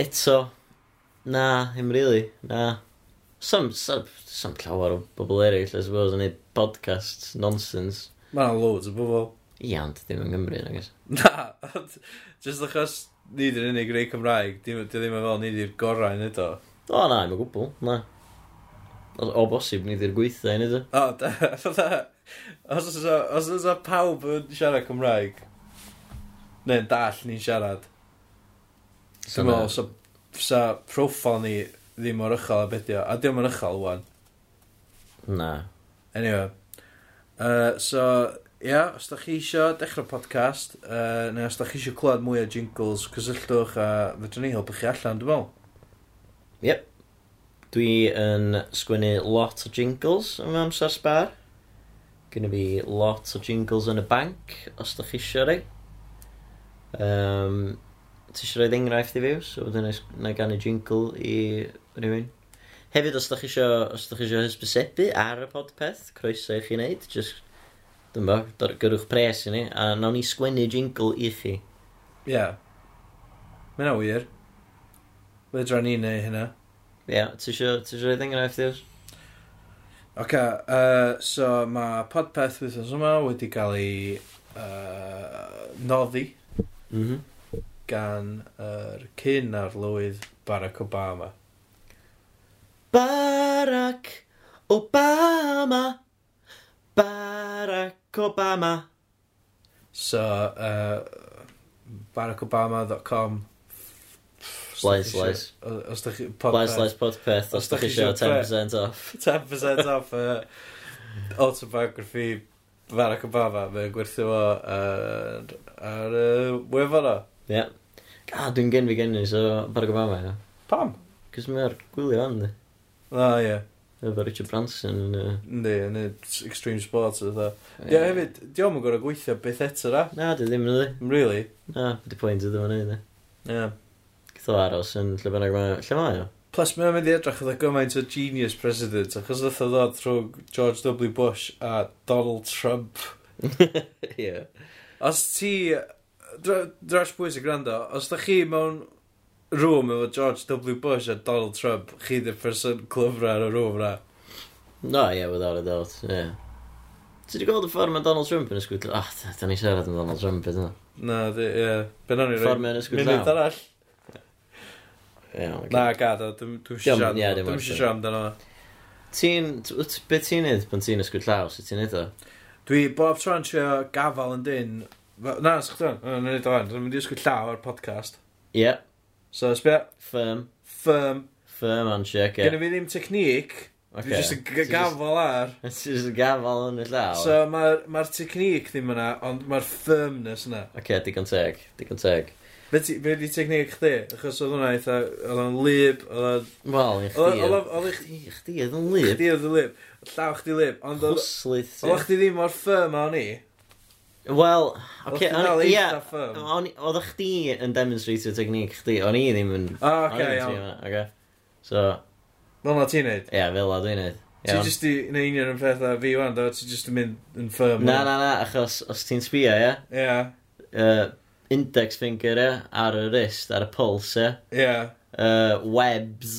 Eto. Na, him really. Na. Some, some, some llawer o bobl eraill, I suppose, yn neud podcasts, nonsense. Mae yna loads o bobl. Iawn, dim yn Gymru, nag oes. Na, ond jyst achos ni di'r unig rei Cymraeg, dim dio ddim yn fel ni di'r gorau yn edo. O, na, dim o gwbl, na. O, o bosib, ni ddi'r gweithio i neud o. O, da, da. Os oes o- os oes o pawb yn siarad Cymraeg, neu'n dall ni'n siarad, So dwi'n na. meddwl, sa, sa profil ni ddim o'r uchel a bedio, a diolch yn uchel, wan. Na. Anyway. Uh, so, ia, yeah, os da chi isio dechrau podcast, uh, neu os da chi isio clywed mwy o jingles, cysylltwch a fedrwn ni helpu chi allan, dwi'n meddwl. Yep. Dwi yn sgwennu lot o jingles am amser spar. Gynna fi lot o jingles yn y banc, os da chi isio rei. Um, ti isio roed enghraifft i fi, so wedyn na i- na i gannu jingle i rhywun. Hefyd, os da chi isio, os da chi isio hysbysebu ar y podpeth, croeso i chi wneud, just, dyn bo, dor- gyrwch pres i ni, a nawn ni sgwennu jingle i chi. Ie. Yeah. Mae yna wir. Fedra ni neu hynna. Ie, yeah, ti isio, ti isio roed enghraifft i fi? Ok, uh, so mae podpeth wythnos yma wedi cael ei uh, noddi Mhm. gan yr uh, cyn a'r lywydd Barack Obama. Barack Obama Barack Obama So, uh, barackobama.com Slice, slice. Os da chi... Blaes Lais Podpeth Os os dach ydych chi chi eisiau isio 10% off 10% off uh, autobiography Barack Obama. Mae'n gwerthu fo uh, ar y uh, wefan o. Ie A Ah, dwi'n gen fi gen i so Barack Obama ia Pam? Cys mae'r gwylio fan di O, ie. Efo Richard Branson yn yy, Yndi, yn y extreme sports oedd o. Ie, hefyd, diolch yn gorau gweithio beth eto da. Na, dwi ddim yn ydi Really? Na, byddu pwynt ydw yn ydi Ie. Yeah. Gytho aros yn lle bynnag mae Lle mae o? Plus, mae'n mynd i edrych oedd o gymaint o genius president, achos oedd o ddod trwy George W Bush a Donald Trump. Ie Os ti... dra- Dras bwys y gwrando, os da chi mewn rŵm efo George W Bush a Donald Trump, chi ddim person clyfra yn y rŵm na. No, ie, without a doubt Ie Ti wedi gweld y ffordd mae Donald Trump yn ysgwydl? Ah, da- da ni siarad am Donald Trump ydyn nhw. Na, di, ie. Yeah. Ben o'n i Ffordd mae'n ysgwyd Munud law. arall. Ie, ocê. Na, gad o, dwi'n Diom- siarad. ie, dim Dwi'n ots. siarad amdano. fo. Ti'n... t- wyt- Be ti'n neud pan ti'n ysgwyd llaw? Sut ti'n neud o? Dwi bob tro'n trio gafal yn dyn... Fe- Na, sgwch dwi'n, na, na, na, dwi'n mynd i ysgwyd llaw ar podcast. Ie, yeah, So, sbio, firm. firm. Firm handshake, Gen ie. i fi ddim technic, Ocê. dwi jyst yn Ti g- jyst- gafal ar. Ti'n just gafel yn y llaw. So, mae'r ma technic ddim yna, ond mae'r firmness yna. Oce, digon teg, digon teg. Be ti- be di technic chdi? Achos oedd hwnna eitha, oedd o'n lib, oedd o'n- Wel, i oedd- oedd chdi... o'n- oedd Chdi, chdi, oedd yn lib. chdi oedd y lib, llaw chdi lib, ond oedd Hwslydd oedd ti. chdi ddim o'r firm a o'n i. Wel, Oedd oce, chdi o'n dal ie, eitha firm. o'n i... Oedd chdi yn demonstratio technique chdi, o'n i ddim yn... O, o'n i oce, ddim yn iawn. teimlo hwnna, Oce. So, Fel na ti'n neud. ie, fel a dwi'n neud. Ti Iawn. jyst i neu union yn peth a fi wan, do? Ti jyst yn mynd yn firm. Na, na, na, achos os ti'n sbio, ie, Ie, yy, index finger, ie, ar y wrist, ar y puls, ie, ie. uh, webs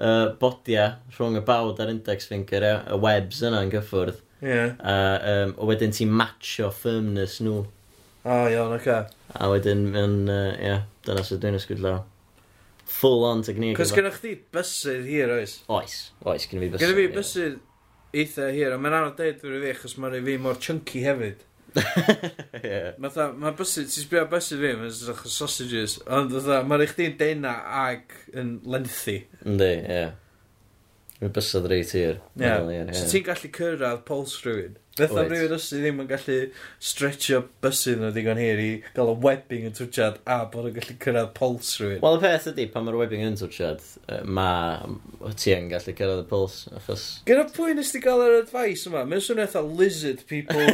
uh, bodia rhwng y bawd a'r index finger ia, y webs yna yn gyffwrdd Ie. a um, a wedyn ti'n matcho firmness nhw O, iawn, oce. a wedyn yn, uh, yeah, dyna sydd dwi'n ysgwyd law full on technique Cos efo- gyda chdi bysydd hir, oes? oes, oes, gyda fi bysau Gyda fi bysydd eitha hir, a mae'n anodd deud fyrdd fi, achos mae'n rhaid fi mor chunky hefyd. yeah. Mae ma bysydd, ti'n sbio ar bysydd fi, mae'n sych sausages, ond fatha, mae'n rhaid chdi'n deuna ag yn lengthy. yndi, ie Mae bysod reit hir. Wel, ie, Ie. ie. So ti'n gallu cyrraedd pols rhywun. Beth am Wyt. rhywun os ti ddim yn gallu stretchio bysyn nhw ddigon hir i gael y webbing yn twtiad a bod yn gallu cyrraedd pols rhywun. Wel, y peth ydy, pan mae'r webbing yn twtiad, yy, mae ti yn gallu cyrraedd y puls, achos... Gyda pwy nes ti gael yr advice yma? Mae'n swnio eitha lizard people.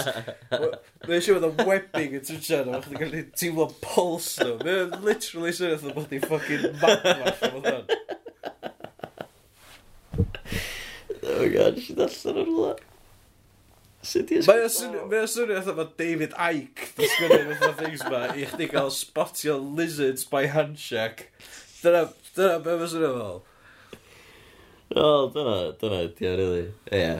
Mae'n siw oedd y webbing yn twtiad a chdi gallu teimlo pols nhw. Mae'n literally swnio eitha bod ni'n ffucking magmash o fod hwn. Oh my god, nes i ddarllen o'r rhywle. Sut i Mae'n swnio mae o'n swnio eitha bod David Icke di sgwynnu fatha things ma i chdi gael spotio lizards by handshake. Dyna, dyna be mae'n swnio fel. O, dyna, dyna, ydi o, really. Ie.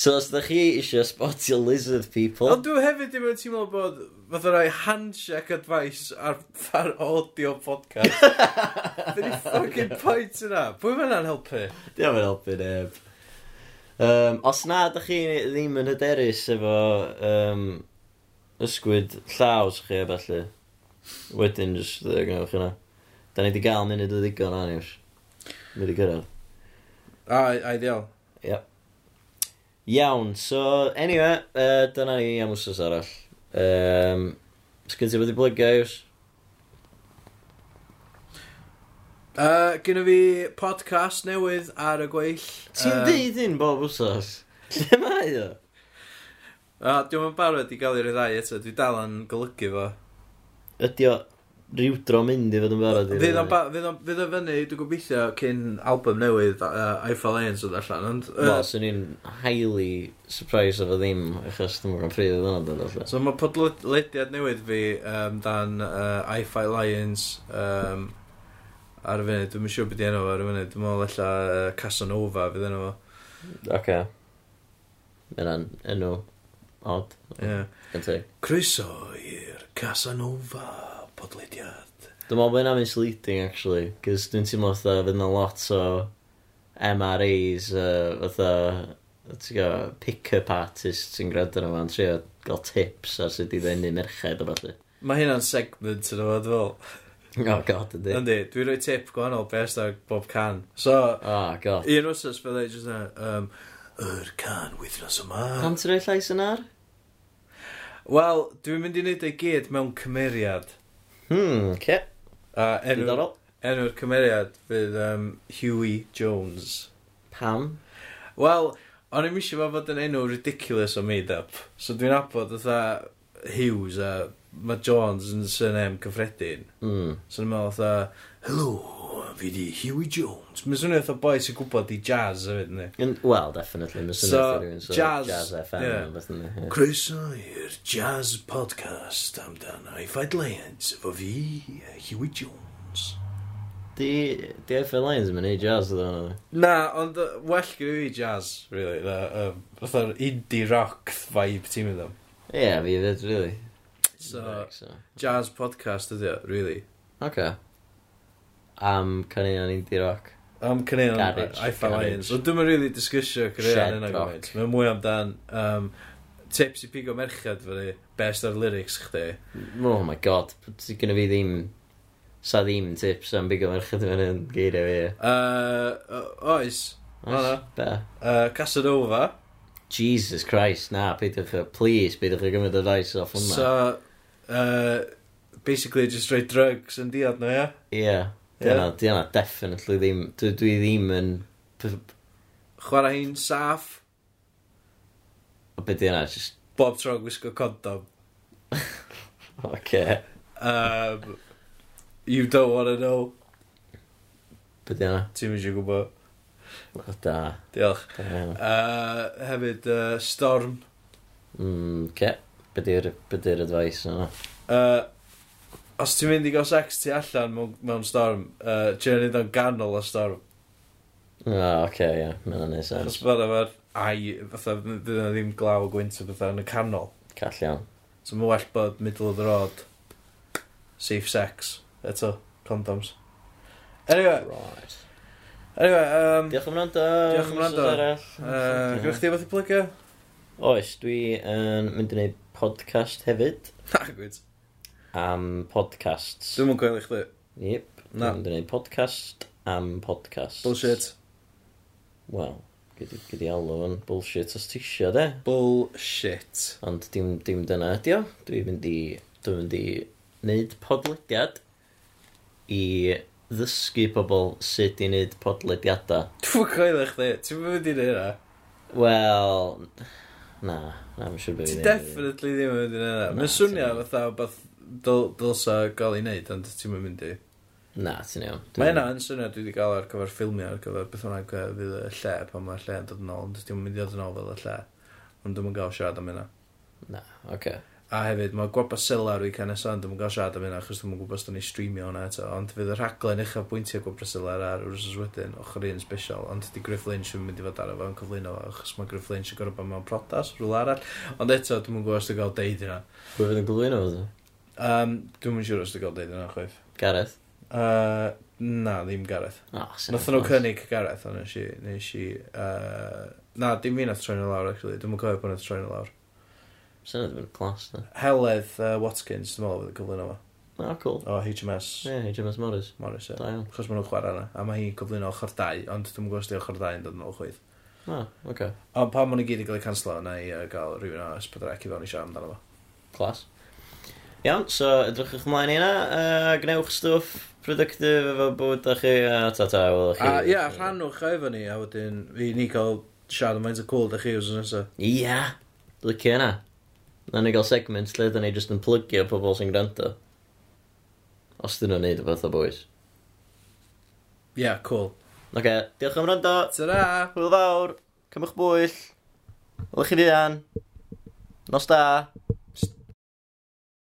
So, os ydych chi eisiau spotio lizard people... Ond dwi hefyd ddim yn teimlo bod fatha rhoi handshake advice ar, ar audio podcast. Be ni fucking point yna? Pwy mae'n helpu? Di o'n helpu neb. Um, os na, ydych chi ddim yn hyderus efo um, ysgwyd llaws chi a felly, wedyn jyst uh, gynnwch chi na. Da ni wedi gael munud o ddigon o'n iws. Mi wedi gyrraedd. A, ideal. Iawn, so, anyway, uh, dyna ni am wsos arall. Um, Sgyn ti wedi blygio, iws? Uh, Gynna fi podcast newydd ar y gweill. Ti'n Yym, ddeud un bob wsos? Lle mae o? A diwm yn barod i gael i'r ddau eto, dwi dal yn golygu fo. Ydi o rhywdro mynd i fod yn barod i Fydd o'n ba- fydd o'n- fydd o'n fyny, dwi'n gobeithio, cyn album newydd, uh, I Fall Ains oedd allan, ond... yy, Wel, swn i'n highly surprised efo ddim, achos dwi'n mwyn ffrif oedd hwnna dod allan. So mae podlediad newydd fi um, dan uh, I Fight Lions um, ar y funud. Dwi'n siŵr beth i enw fo ar y funud. Dwi'n meddwl ella uh, Casanova fydd enw fo. Ok. Mae'n enw odd, Yeah. gan teg. Croeso i'r Casanova podlediad. Dwi'n meddwl bod yna misleading, actually, cos dwi'n teimlo fatha fydd yna lot o MRAs, uh, fatha, ti'n gael, pick-up artists sy'n gwrando yna fan, trio gael tips ar sut i ddenu merched o falle. Mae hynna'n segment yn efo, dwi'n fel. Oh god, ydy. Yndi, dwi'n rhoi tip gwahanol best ar bob can. So, Oh god. un wrthos byddai jyst na, um, yr can wythnos yma. Pam ti'n rhoi llais yn ar? Wel, dwi'n mynd i wneud ei gyd mewn cymeriad. Hmm, ce. Uh, enw, Diddorol. Enw'r cymeriad fydd um, Huey Jones. Pam? Wel, o'n i'n misio fo fod yn enw ridiculous o made-up. So dwi'n abod oedd Hughes a mae Jones yn surname cyffredin. Hmm. So dwi'n meddwl oedd Hello, fi di Huey Jones. Mae'n swnio oedd boi sy'n gwybod i jazz hefyd, ni. Yn- Wel, definitely, mae'n So, swnio rhywun so jazz, jazz, jazz FM ie. yeah. beth yn yeah. Croeso i'r jazz podcast amdano i Fight Lions efo fi, Huey Jones. Di, di FM Lions yn mynd i jazz ydyn nhw. Na, ond yy, well gyda fi jazz, really. na, yym, Fatha'r indie rock vibe ti'n mynd am. Ie, yeah, fi fyd, really. So, Reg, so. jazz podcast ydi o, really. Ok. Am canion indie rock. Am Canadian Garage, Alpha garage. Lions. Ond dwi'n really disgysio Shed Canadian yna rock. gymaint. Mae'n mwy amdan um, tips i pigo merched fyny, best ar lyrics chdi. Mm. Oh my god, di gynnu fi ddim... Sa ddim tips am bigo merched yn yn geiriau fi. Uh, o- oes, Na, na. Oes, Be? uh, Casanova. Jesus Christ, na, peidiwch chi, please, peidiwch chi gymryd advice off hwnna. So, uh, basically just rhoi drugs yn diod nhw, ia? Ie, Ie. dyna, dyna, definitely ddim, dwi, dwi ddim yn... p- Chwarae hi'n saff, Be dyna, just... bob tro gwisgo condom. Okay. Um, you don't wanna know, Be dyna? ti'n mynd i gwybod. O, da. Diolch. Da iawn. Uh, hefyd, uh, Storm. Mm, ce. Be di'r be di'r advice yna? uh, os ti'n mynd i gael sex ti allan mewn, mewn storm, uh, ti'n mynd o'n ganol o storm. O, oh, ce, ie. Mae'n anodd Os sens. bod efo'r ai, fatha, fydd yna ddim glaw o gwynt o bethau yn y canol. Call iawn. So mae'n well bod middle of the road, safe sex, eto, condoms. Anyway, Right. anyway, um, Diolch am wrando. Diolch am wrando. Mrs. Arall. uh, Ie. gwych chi beth i plygio? Oes, dwi yn mynd i wneud podcast hefyd. Na, gwyd. Am podcasts. Dwi'n mwyn gweld i chdi. Yep. Na. Dwi'n mynd i wneud podcast am podcast. Bullshit. Wel, gyda, gyda alw yn bullshit os ti isio, de? Bullshit. Ond dim, dim dyna ydi o. Dwi'n mynd i... Dwi'n mynd i wneud podlediad i ddysgu pobl sut i wneud podlediadau. Dwi'n coelio chdi, ti'n mynd i neud hynna? Wel... Na, na, mae'n siŵr bod Ti fi'n definitely ddim yn mynd i neud hynna. Na, Mae'n swnio ti'n- fatha beth dylsa gael ei wneud, ond ti'n mynd i. Na, ti'n iawn. Dwi'n- Mae hynna yn swnio dwi wedi gael ar gyfer ffilmio, ar gyfer beth hwnna fydd y lle, pan mae'r lle yn dod yn ôl, ond ti'n mynd i ddod yn ôl fel y lle. Ond dwi'n gael siarad am hynna. Na, oce. A hefyd, mae gwapa sila ar weekend nesaf, ond dwi'n gael siarad am hynna, achos dwi'n gwybod os dwi'n ei streamio hwnna eto, ond fydd y rhaglen eich a bwyntio gwapa sila ar yr wrsos wedyn, ochr un special, ond di Griff Lynch yn mynd i fod ar efo yn cyflwyno fo, achos mae Griff Lynch yn gorau bod mewn protas, rhywle arall, ond eto, dwi'n gwybod os dwi'n gael deud hynna. Pwy fydd yn glwyno fod? Um, dwi'n siŵr os dwi'n gael deud hynna, chwaith. Gareth? Uh, na, ddim Gareth. O, sy'n Nath nhw anodd. cynnig Gareth, ond nes i, nes i, uh, na, dim fi nath troi'n lawr, actually, dwi'n cofio bod nath troi'n lawr. Sy'n edrych yn clas, na. Heledd uh, Watkins, dwi'n meddwl, fydd y cyflwyno fo. O, cool. O, HMS. Ie, HMS Morris. Morris, ie. Da iawn. Chos maen nhw'n chwarae yna, a mae hi'n cyflwyno ochr 2, ond dwi'n gwybod os di ochr 2 yn dod yn ôl chwyth. O, oce. Ond pan maen nhw gyd yn cael eu canslo, na i uh, gael rhywun o Spadrec i fewn i siarad amdano fo. Clas. Iawn, so edrychwch ymlaen i hynna, a gwnewch stwff productive efo bywyd â chi, a ta-ta, wel, chi... A ie, rhannwch o efo ni, a wedyn fi ni cael siarad am faint o cool da chi os yn nesaf. Ia, lycio yna. Na ni gael segments lle da ni jyst yn plygio pobl sy'n gwrando. Os dyn nhw'n neud y fath o bwys. Ie, cool. Oce, okay, diolch am rando. Ta-ra! Hwyl fawr. Cymwch bwyll. Wlech chi fuan. Nos da.